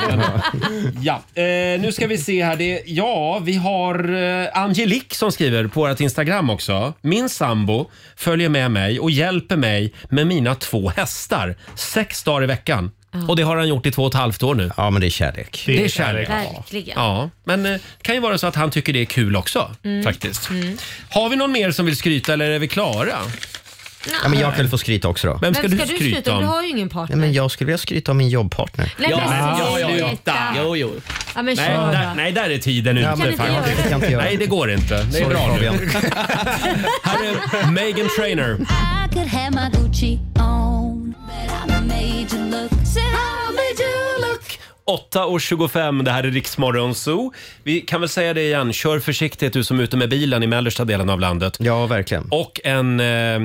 A: ja, eh, nu ska vi se här. Det, ja, vi har eh, Angelique som skriver på vårt Instagram också. Min sambo följer med mig och hjälper mig med mina två hästar sex dagar i veckan. Och det har han gjort i två och ett halvt år nu.
C: Ja, men det är kärlek.
A: Det är kärlek.
B: Verkligen.
A: Ja, men eh, kan ju vara så att han tycker det är kul också
B: Mm.
A: faktiskt.
B: Mm.
A: Har vi någon mer som vill skryta eller är vi klara?
C: Ja, men jag kan väl få skryta också då.
A: Vem ska
B: Vem
A: du skryta
B: Du
A: om?
B: har ju ingen partner.
C: Nej, men jag skulle vilja skryta om min jobbpartner.
B: Nej, men Ja, ja, ja. sluta.
A: Jo, jo.
B: Ja, men
A: Nej,
B: kör då.
A: där, nej, där är tiden ute
C: Ja, men kan inte
A: faktiskt.
C: göra det.
A: Nej, det går inte. Det är
C: Sorry,
A: bra
C: Fabian.
A: nu. Här är Megan Trainer.
D: I could have my Gucci on, but I made you look. Said I made you look.
A: 8.25, det här är Riksmorgon Zoo. Vi kan väl säga det igen, kör försiktigt du som är ute med bilen i mellersta delen av landet.
C: Ja, verkligen.
A: Och en, eh, eh,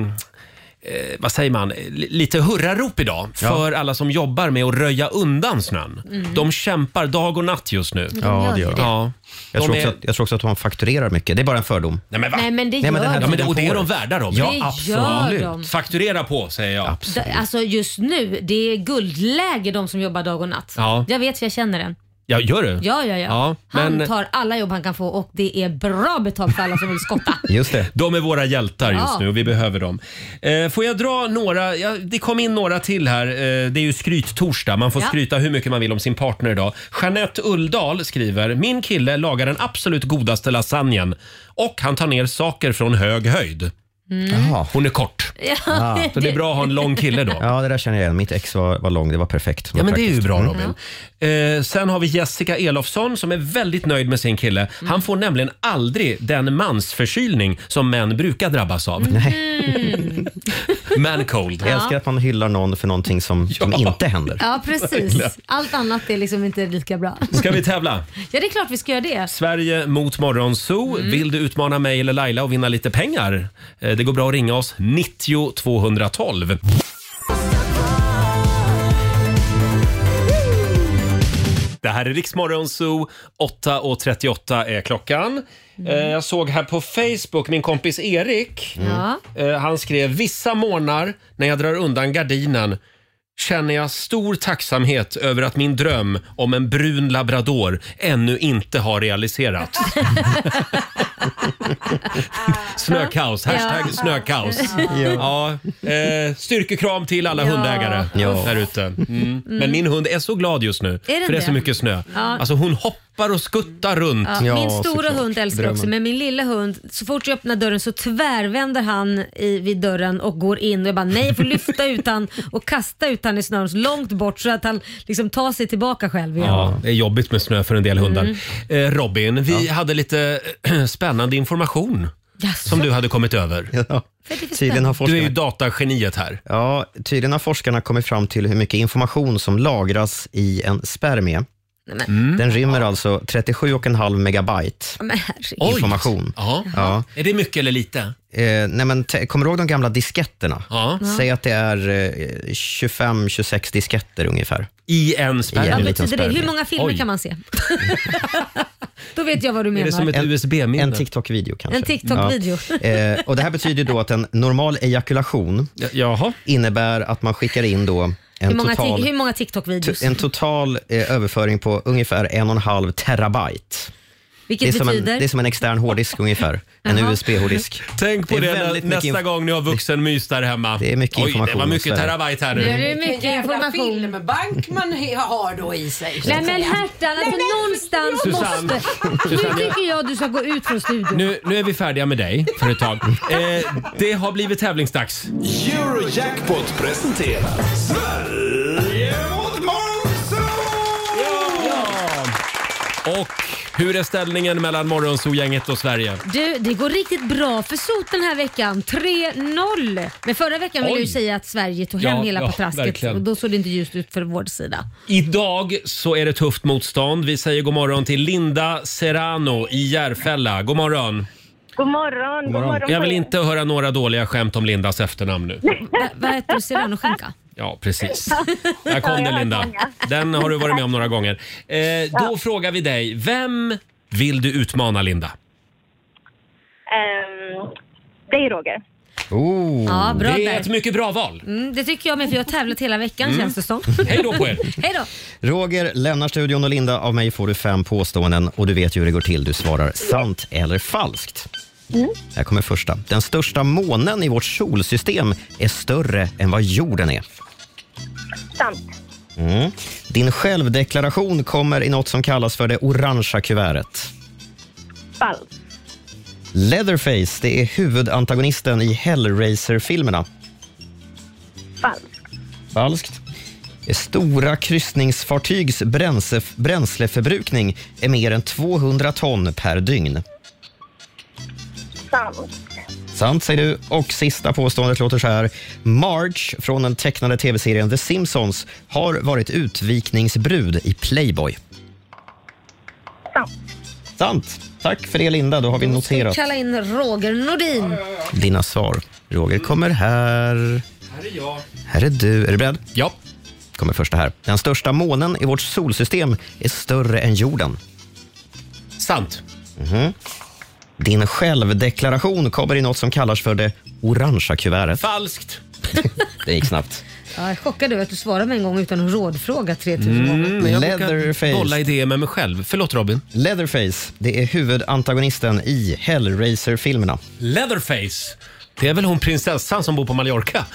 A: vad säger man, L- lite hurrarop idag för alla som jobbar med att röja undan snön.
C: Mm.
A: De kämpar dag och natt just nu.
C: De Ja, gör det gör det. de.
A: Ja.
C: Jag
A: De
C: tror, också
A: är-
C: att, jag tror också att man fakturerar mycket. Det är bara en fördom.
A: Nej men, va?
B: Nej, men det gör
A: den här
B: de.
A: ja, men det,
C: tiden
A: och det
C: på
A: är de
C: året.
A: värda dem.
B: Ja, Det gör absolut. de.
A: Fakturera på säger jag.
B: D- Alltså just nu, det är guldläge de som jobbar dag och natt.
A: Ja.
B: Jag vet för jag känner den.
A: Ja, gör du?
B: Ja, ja, ja. Han
A: men-
B: tar alla jobb han kan få och det är bra betalt för alla som vill
A: [laughs]
B: skotta.
A: Just det. De är våra hjältar just
B: Ja.
A: nu och vi behöver dem. Eh, får jag dra några? Ja, det kom in några till här. Eh, det är ju skryttorsdag. Man får
B: Ja.
A: skryta hur mycket man vill om sin partner idag. Jeanette Ulldal skriver “Min kille lagar den absolut godaste lasagnen och han tar ner saker från hög höjd”.
B: Mm.
A: Hon är kort.
B: Ja.
A: Så det är bra att ha en lång kille då.
C: Ah. Ja, det där känner jag igen. Mitt ex var, var lång. Det var perfekt.
A: Ja, men det är ju bra
C: Mm.
A: Robin. Eh, sen har vi Jessica Elofsson som är väldigt nöjd med sin kille. Han får nämligen aldrig den mansförkylning som män brukar drabbas av.
B: Mm.
A: Man cold.
C: Jag älskar att man hyllar någon för någonting som, som inte händer.
B: Ja, precis. Allt annat är liksom inte lika bra.
A: Ska vi tävla?
B: Ja, det är klart vi ska göra det.
A: Sverige mot Morgonzoo. Vill du utmana mig eller Laila och vinna lite pengar? Eh, Det går bra att ringa oss 90 212. Det här är Riksmorgonzoo. 8.38 är klockan. Eh, Jag såg här på Facebook, min kompis Erik.
B: Ja.
A: Eh, Han skrev “Vissa morgnar när jag drar undan gardinen känner jag stor tacksamhet över att min dröm om en brun labrador ännu inte har realiserats. snökaos, hashtag
D: Ja.
A: snökaos. Ja.
D: Ja.
A: Eh, styrkekram till alla
D: Ja.
A: hundägare
D: Ja.
A: där ute. Mm. Men min hund är så glad just nu
B: den
A: för det är
B: det?
A: så mycket snö.
B: Ja.
A: Alltså hon hoppar och skuttar runt.
B: Ja, min stora hund älskar
A: Mm. Drömmen.
B: också, men min lilla hund, så fort jag öppnar dörren så tvärvänder han i, vid dörren och går in och jag bara nej, jag får lyfta ut han och kasta ut han i snön så långt bort så att han liksom tar sig tillbaka själv igen.
A: Ja, det är jobbigt med snö för en del hundar.
B: Mm.
A: Eh, Robin, vi hade lite eh, [clears throat] spännande information som du hade kommit över.
C: Tydligen har
A: du är ju
C: forskarna-
A: datageniet här.
C: Ja, tydligen har forskarna kommit fram till hur mycket information som lagras i en spermie
A: Mm.
C: Den rymmer alltså 37,5 megabyte
B: Men herregud.
C: information. Ja.
A: Är det mycket eller lite?
C: Eh, nej men te- kommer du ihåg de gamla disketterna?
A: Ja.
C: Säg att det är eh, 25-26 disketter ungefär.
A: I en spärr?
C: I
B: Vad
C: en liten
B: betyder det?
C: spärr.
B: Hur många filmer kan man se? [laughs] Då vet jag vad du menar.
C: En- En
A: USB-minne?
C: TikTok-video kanske.
B: En TikTok-video.
C: Ja. Eh, och det här betyder ju då att en normal ejakulation innebär att man skickar in då en
B: hur, många ti-
C: total,
B: hur många TikTok-videos?
C: en total eh, överföring på ungefär en och en halv terabyte.
B: Vilket
C: det är, som en,
B: betyder?
C: det är som en extern hårddisk ungefär. En
B: Jaha.
C: USB-hårddisk.
A: Tänk på
C: Det
A: det,
C: är väldigt
A: nästa
C: mycket inf-
A: gång ni har vuxenmys där hemma. Det är
C: mycket
A: Oj, det
C: information
A: var
C: och
A: mycket
C: sådär.
A: terabyte här
F: Nu
A: nu.
B: är det mycket information.
F: filmbank man he- har då i sig. så
B: Nej
F: att
B: men
F: säga.
B: Hertan, alltså någonstans
A: Susanne. [laughs]
B: måste...
A: Susanne,
B: Nu
A: jag-
B: tycker jag du ska gå ut från studion.
A: Nu, nu är vi färdiga med dig för ett tag. Eh, det har blivit tävlingsdags.
P: Eurojackpot presenterar Sverige mot
A: Och hur är ställningen mellan Morgonzoo-gänget och Sverige?
B: Du, det går riktigt bra för Sot den här veckan. 3-0. Men förra veckan ville
A: Oj.
B: du ju säga att Sverige tog
A: Ja,
B: hem hela
A: ja,
B: patrasket
A: verkligen.
B: och då såg det inte ljust ut för vår sida.
A: Idag så är det tufft motstånd. Vi säger god morgon till Linda Serrano i Järfälla. God morgon.
Q: God morgon, god morgon.
A: Jag vill
Q: på er. [laughs]
A: inte höra några dåliga skämt om Lindas efternamn nu.
B: Va, vad äter du? Serranoskinka?
A: Ja, precis. Där kom den Linda. Den har du varit med om några gånger. Eh, Då frågar vi dig, vem vill du utmana Linda?
Q: Ehm, dig Roger.
A: Oh.
B: Ja, bra
A: det
B: där.
A: är ett mycket bra val.
B: Mm, det tycker jag med för jag har tävlat hela veckan
C: Mm.
B: känns det som.
A: Hej då på er.
B: [laughs] Hej då.
C: Roger lämnar studion och Linda, av mig får du fem påståenden och du vet ju hur det går till. Du svarar sant eller falskt. Här kommer första. Den största månen i vårt solsystem är större än vad jorden är.
Q: Sant.
C: Mm. Din självdeklaration kommer i något som kallas för det orangea kuvertet.
Q: Falskt.
C: Leatherface, det är huvudantagonisten i Hellraiser-filmerna.
Q: Falskt.
C: Falskt. Stora kryssningsfartygs bränsle, bränsleförbrukning är mer än 200 ton per dygn.
Q: Sant.
C: Sant säger du. Och sista påståendet låter så här. Marge från den tecknade tv-serien The Simpsons har varit utvikningsbrud i Playboy. Sant. Sant. Tack för det Linda, då har vi noterat
B: Kalla in Roger Nordin.
C: dina svar. Roger kommer
A: Här
C: här.
A: är jag.
C: Här är du. Är du beredd?
A: Ja.
C: kommer första här. Den största månen i vårt solsystem är större än jorden.
A: Sant.
C: Mhm. Din självdeklaration kommer i något som kallas för det orangea kuvertet.
A: Falskt.
C: [laughs] det gick snabbt.
B: Ja, jag är chockad över att du svarade mig en gång utan att rådfråga 3000 gånger.
C: Mm,
A: bolla idéer med mig själv. Förlåt Robin.
C: Leatherface, det är huvudantagonisten i Hellraiser-filmerna.
A: Leatherface. Det är väl hon prinsessan som bor på
B: [laughs]
A: Mallorca?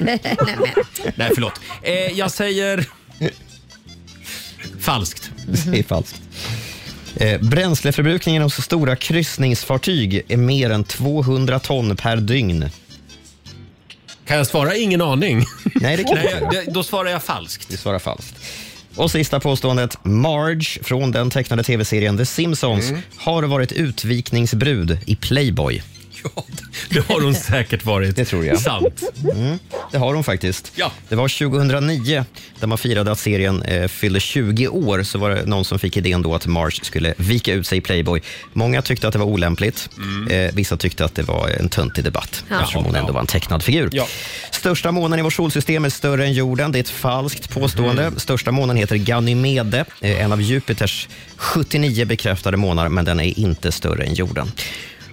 A: Nej, förlåt. Eh, jag säger... Falskt.
C: [laughs] Det är falskt. Eh, bränsleförbrukningen hos stora kryssningsfartyg är mer än 200 ton per dygn.
A: Kan jag svara ingen aning?
C: Nej, det kan
A: Nej,
C: du inte.
A: jag- Då svarar jag falskt.
C: Du svarar falskt. Och sista påståendet. Marge från den tecknade tv-serien The Simpsons
A: Mm.
C: har varit utvikningsbrud i Playboy.
A: Det har hon säkert varit.
C: Det tror jag.
A: Sant.
C: Mm, det har hon faktiskt. Det var 2009, där man firade att serien eh, fyllde 20 år, så var det någon som fick idén då att Marge skulle vika ut sig i Playboy. Många tyckte att det var olämpligt. Eh, vissa tyckte att det var en töntig debatt,
A: Mm. Ja.
C: eftersom hon ändå var en tecknad figur. Största månen i vårt solsystem är större än jorden. Det är ett falskt påstående.
A: Mm.
C: Största månen heter Ganymede, eh, en av Jupiters 79 bekräftade månar, men den är inte större än jorden.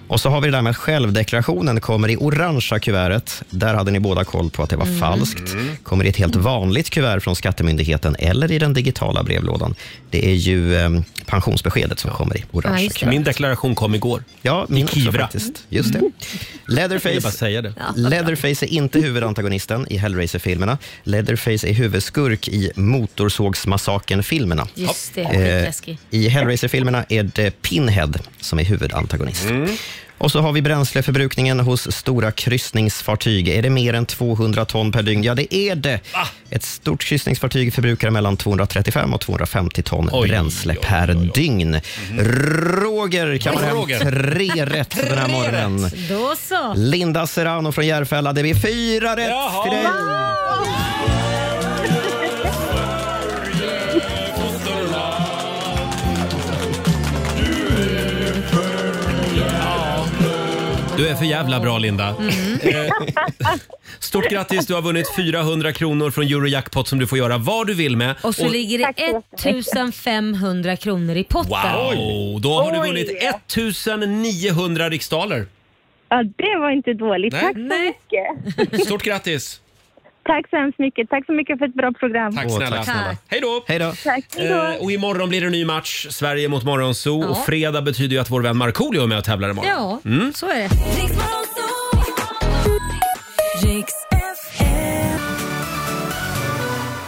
C: Och så har vi det där med att självdeklarationen kommer i orangea kuvertet. Där hade ni båda koll på att det var
P: Mm.
C: falskt.
P: Mm.
C: Kommer i ett helt vanligt kuvert från Skattemyndigheten eller i den digitala brevlådan. Det är ju eh, pensionsbeskedet som kommer i
A: Ja,
C: orangea
A: just det.
C: kuvertet.
A: Min deklaration kom igår.
C: Ja, min
A: I
C: också
A: Kivra.
C: faktiskt. Just det.
A: Mm.
C: Leatherface,
A: Jag ville bara säga det. Ja, vad bra.
C: Leatherface är inte huvudantagonisten i Hellraiser-filmerna. Leatherface är huvudskurk i Motorsågsmassakern-filmerna.
B: Just det,
C: Eh,
B: skitläskig.
C: I Hellraiser-filmerna är det Pinhead som är huvudantagonist. Och så har vi bränsleförbrukningen hos stora kryssningsfartyg. Är det mer än 200 ton per dygn? Ja, det är det. Ett stort kryssningsfartyg förbrukar mellan 235 och 250 ton bränsle per dygn. Roger kammar
B: Oj,
C: hem
B: Roger.
C: tre rätt för den här morgonen.
B: Då så.
C: [laughs] Linda Serrano från Järfälla, det blir fyra rätt till dig.
B: Wow.
A: är för jävla bra Linda. Eh, Stort grattis, du har vunnit 400 kronor från Eurojackpot som du får göra vad du vill med.
B: Och så ligger det 1500 kronor i potten.
A: Wow! Då har du
B: Oj.
A: vunnit 1900 riksdaler.
Q: Ja, det var inte dåligt.
A: Nej.
Q: Tack så mycket.
A: Stort grattis!
Q: Tack så hemskt mycket. Tack så mycket för ett bra program.
A: Tack snälla. Hej då! Hej då.
Q: Tack. Hej då.
A: Eh, och imorgon blir det en ny match, Sverige mot Morgonzoo.
B: Ja.
A: Och fredag betyder ju att vår vän Markoolio är med och tävlar imorgon.
B: Ja,
A: Mm.
B: så är det.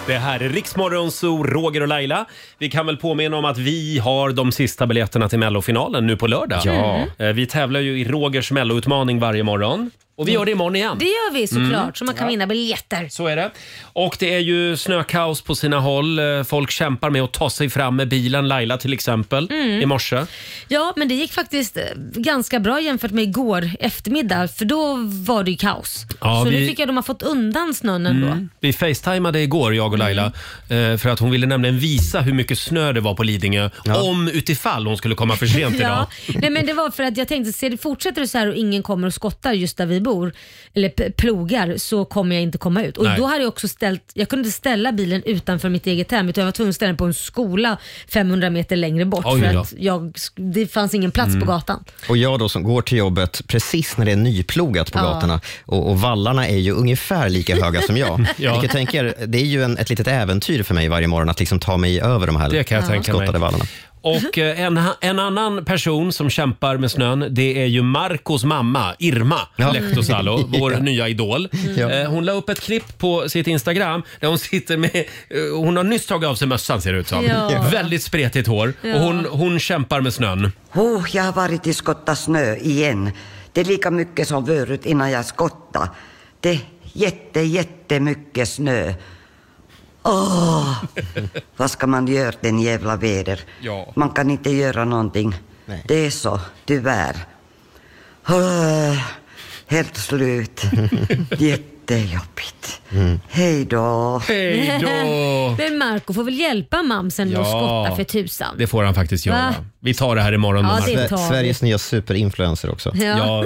A: Det här är Riksmorgonzoo, Roger och Laila. Vi kan väl påminna om att vi har de sista biljetterna till Mellofinalen nu på lördag.
B: Ja.
A: Eh, Vi tävlar ju i Rogers Melloutmaning varje morgon. Och vi gör det imorgon igen.
B: Det gör vi såklart,
A: Mm.
B: så man kan
A: Ja.
B: vinna biljetter.
A: Så är det. Och det är ju snökaos på sina håll. Eh, Folk kämpar med att ta sig fram med bilen. Laila till exempel,
B: Mm.
A: i morse.
B: Ja, men det gick faktiskt eh, ganska bra jämfört med igår eftermiddag, för då var det ju kaos.
A: Ja,
B: så nu
A: vi-
B: tycker jag de har fått undan snön ändå.
A: Mm. Vi facetimade igår, jag och Laila,
B: Mm.
A: eh, för att hon ville nämligen visa hur mycket snö det var på Lidingö. Om utifall hon skulle komma för sent idag.
B: [laughs] Ja. Nej, men det var för att jag tänkte, ser det fortsätter det så här och ingen kommer och skottar just där vi bor, eller p- plogar, så kommer jag inte komma ut. Och
R: Nej.
B: då hade jag också ställt, jag kunde inte ställa bilen utanför mitt eget hem utan jag var tvungen att ställa den på en skola 500 meter längre bort
C: Oj
B: för
C: då.
B: att jag, det fanns ingen plats
C: Mm.
B: på gatan.
C: Och jag då som går till jobbet precis när det är nyplogat på
B: Ja.
C: gatorna och, och vallarna är ju ungefär lika höga som jag.
B: Ja.
C: Vilket tänker, det är ju en, ett litet äventyr för mig varje morgon att liksom ta mig över de här
A: Det kan jag tänka mig.
C: skottade vallarna.
A: Och eh, en, ha- en annan person som kämpar med snön, det är ju Marcos mamma, Irma
C: Ja.
A: Lehtosalo,
C: Mm.
A: vår
C: [laughs] Ja.
A: nya idol.
C: Ja.
A: Eh, Hon la upp ett klipp på sitt Instagram där hon sitter med, eh, hon har nyss tagit av sig mössan ser det ut som.
I: Ja.
A: Väldigt spretigt hår och hon, hon kämpar med snön.
I: Oh, jag har varit i skotta snö igen. Det är lika mycket som förut innan jag skottade. Det är jätte, jättemycket snö. Åh, vad ska man göra den jävla väder?
D: Ja.
I: Man kan inte göra någonting. Det är så, tyvärr. Åh, helt slut. Jättejobbigt. Hej då.
B: [laughs] men Marco får väl hjälpa mamsen med att
A: Ja.
B: skotta för tusan.
A: Det får han faktiskt göra.
B: Va?
A: Vi tar det här imorgon.
B: Ja,
A: Marco.
B: det tar vi. Sveriges
C: nya superinfluencer också.
B: Ja.
A: Ja,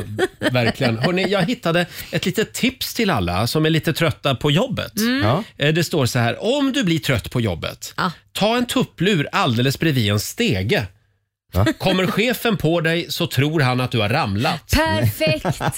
A: verkligen. Hörrni, jag hittade ett litet tips till alla som är lite trötta på jobbet.
D: Mm. Ja.
A: Eh, Det står så här, om du blir trött på jobbet, ta en tupplur alldeles bredvid en stege.
C: [laughs]
A: Kommer chefen på dig så tror han att du har ramlat. [laughs]
B: Perfekt!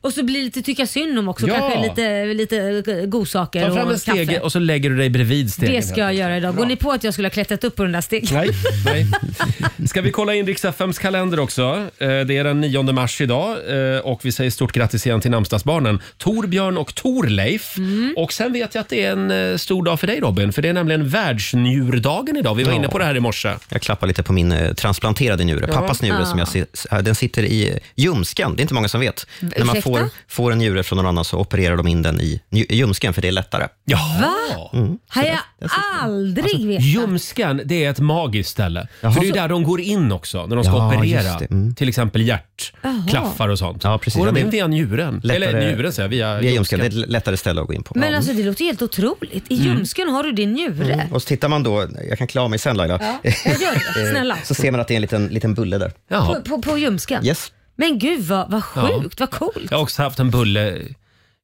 B: Och så blir det lite tycka synd om också,
A: Ja.
B: kanske lite, lite eh, godsaker
A: Ta fram
B: och
A: en stege
B: kaffe.
A: och så lägger du dig bredvid stegen.
B: Det ska jag göra idag. Går ni på att jag skulle ha klättrat upp på den där stegen? [laughs]
A: Nej, nej. Ska vi kolla in riks FMs kalender också? Eh, Det är den 9 mars idag eh, och vi säger stort grattis igen till namnsdagsbarnen Torbjörn och Torleif.
B: Mm.
A: Och sen vet jag att det är en eh, stor dag för dig Robin, för det är nämligen världsnjurdagen idag. Vi var
C: Ja.
A: inne på det här i morse.
C: Jag klappar lite på min eh, transplanterade njure,
A: Ja.
C: pappas njure
A: Ah.
C: som jag, si- eh, den sitter i ljumsken. Det är inte många som vet.
A: V-
C: När man
A: ursäkta?
C: får, får en njure från någon annan så opererar de in den i nj- ljumsken för det är lättare.
A: Ja.
B: Va? Har jag aldrig vetat.
A: Ljumsken, det är ett magiskt ställe. För det är ju där de går in också när de ska
C: Ja,
A: operera.
C: just det.
B: Mm.
A: Till exempel hjärtklaffar och sånt.
C: Ja, precis.
A: Går de
C: Ja,
A: in
C: det är
A: via njuren? Eller
C: lättare-
A: njuren säger jag, via,
C: Via ljumsken. Det är ett lättare ställe att gå in på.
B: Men alltså det låter ju helt otroligt. I
C: Mm.
B: ljumsken har du din njure.
C: Mm. Och så tittar man då, jag kan klä av mig sen Laila. [laughs] Eh,
B: Ja, jag gör det. Snälla.
C: så ser man att det är en liten, liten bulle där.
B: På, på, på ljumsken?
C: Yes.
B: Men gud vad, vad
A: Ja.
B: sjukt, vad coolt.
A: Jag har också haft en bulle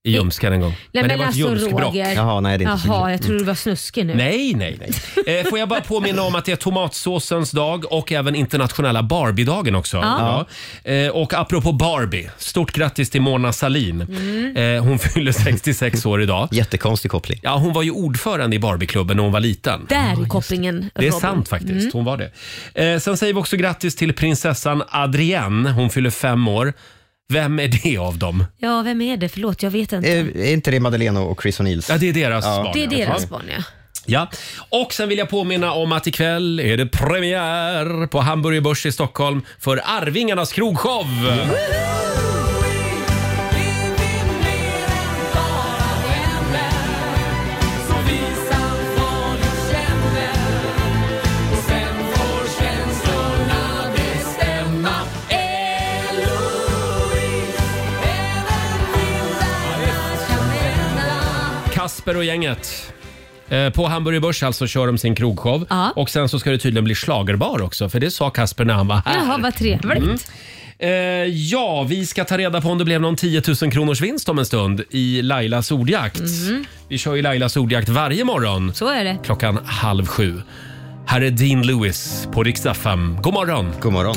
A: i ljumsken en gång.
B: Nej, men alltså,
A: ljumskbråck.
B: Roger. Jaha, nej, det är inte så Jaha, kul. jag trodde du var snuskig nu.
A: Nej, nej, nej. Eh, får jag bara påminna om att det är tomatsåsens dag och även internationella Barbie-dagen också.
D: Ja.
A: Ja. Eh, och apropå Barbie, stort grattis till Mona Sahlin.
D: Mm.
A: Eh, hon fyller 66 år idag.
C: Jättekonstig koppling.
A: Ja, hon var ju ordförande i Barbieklubben när hon var liten.
B: Där är kopplingen
A: Det är
B: Robin.
A: sant faktiskt.
B: Mm.
A: Hon var det. Eh, sen säger vi också grattis till prinsessan Adrienne. Hon fyller fem år. Vem är det av dem?
B: Ja, vem är det? Förlåt, jag vet inte.
C: Är, är inte det Madeleine och Chris O'Neills?
A: Ja, det är deras
C: Ja.
A: barn.
B: det är
A: ja.
B: deras
A: Ja.
B: barn ja.
A: Ja, och sen vill jag påminna om att ikväll är det premiär på Hamburger Börs i Stockholm för Arvingarnas krogshow. Kasper och gänget. Eh, På Hamburger Börs alltså kör de sin krogshow. Och sen så ska det tydligen bli slagerbar också, för det sa Kasper när han var här.
B: Jaha, vad trevligt.
A: Mm. Eh, ja, vi ska ta reda på om det blev någon 10 000 kronors vinst om en stund i Lailas ordjakt. Vi kör ju Lailas ordjakt varje morgon.
B: Mhm. Så är det.
A: Klockan halv sju. Här är Dean Lewis på riksdag 5. God morgon!
C: God morgon!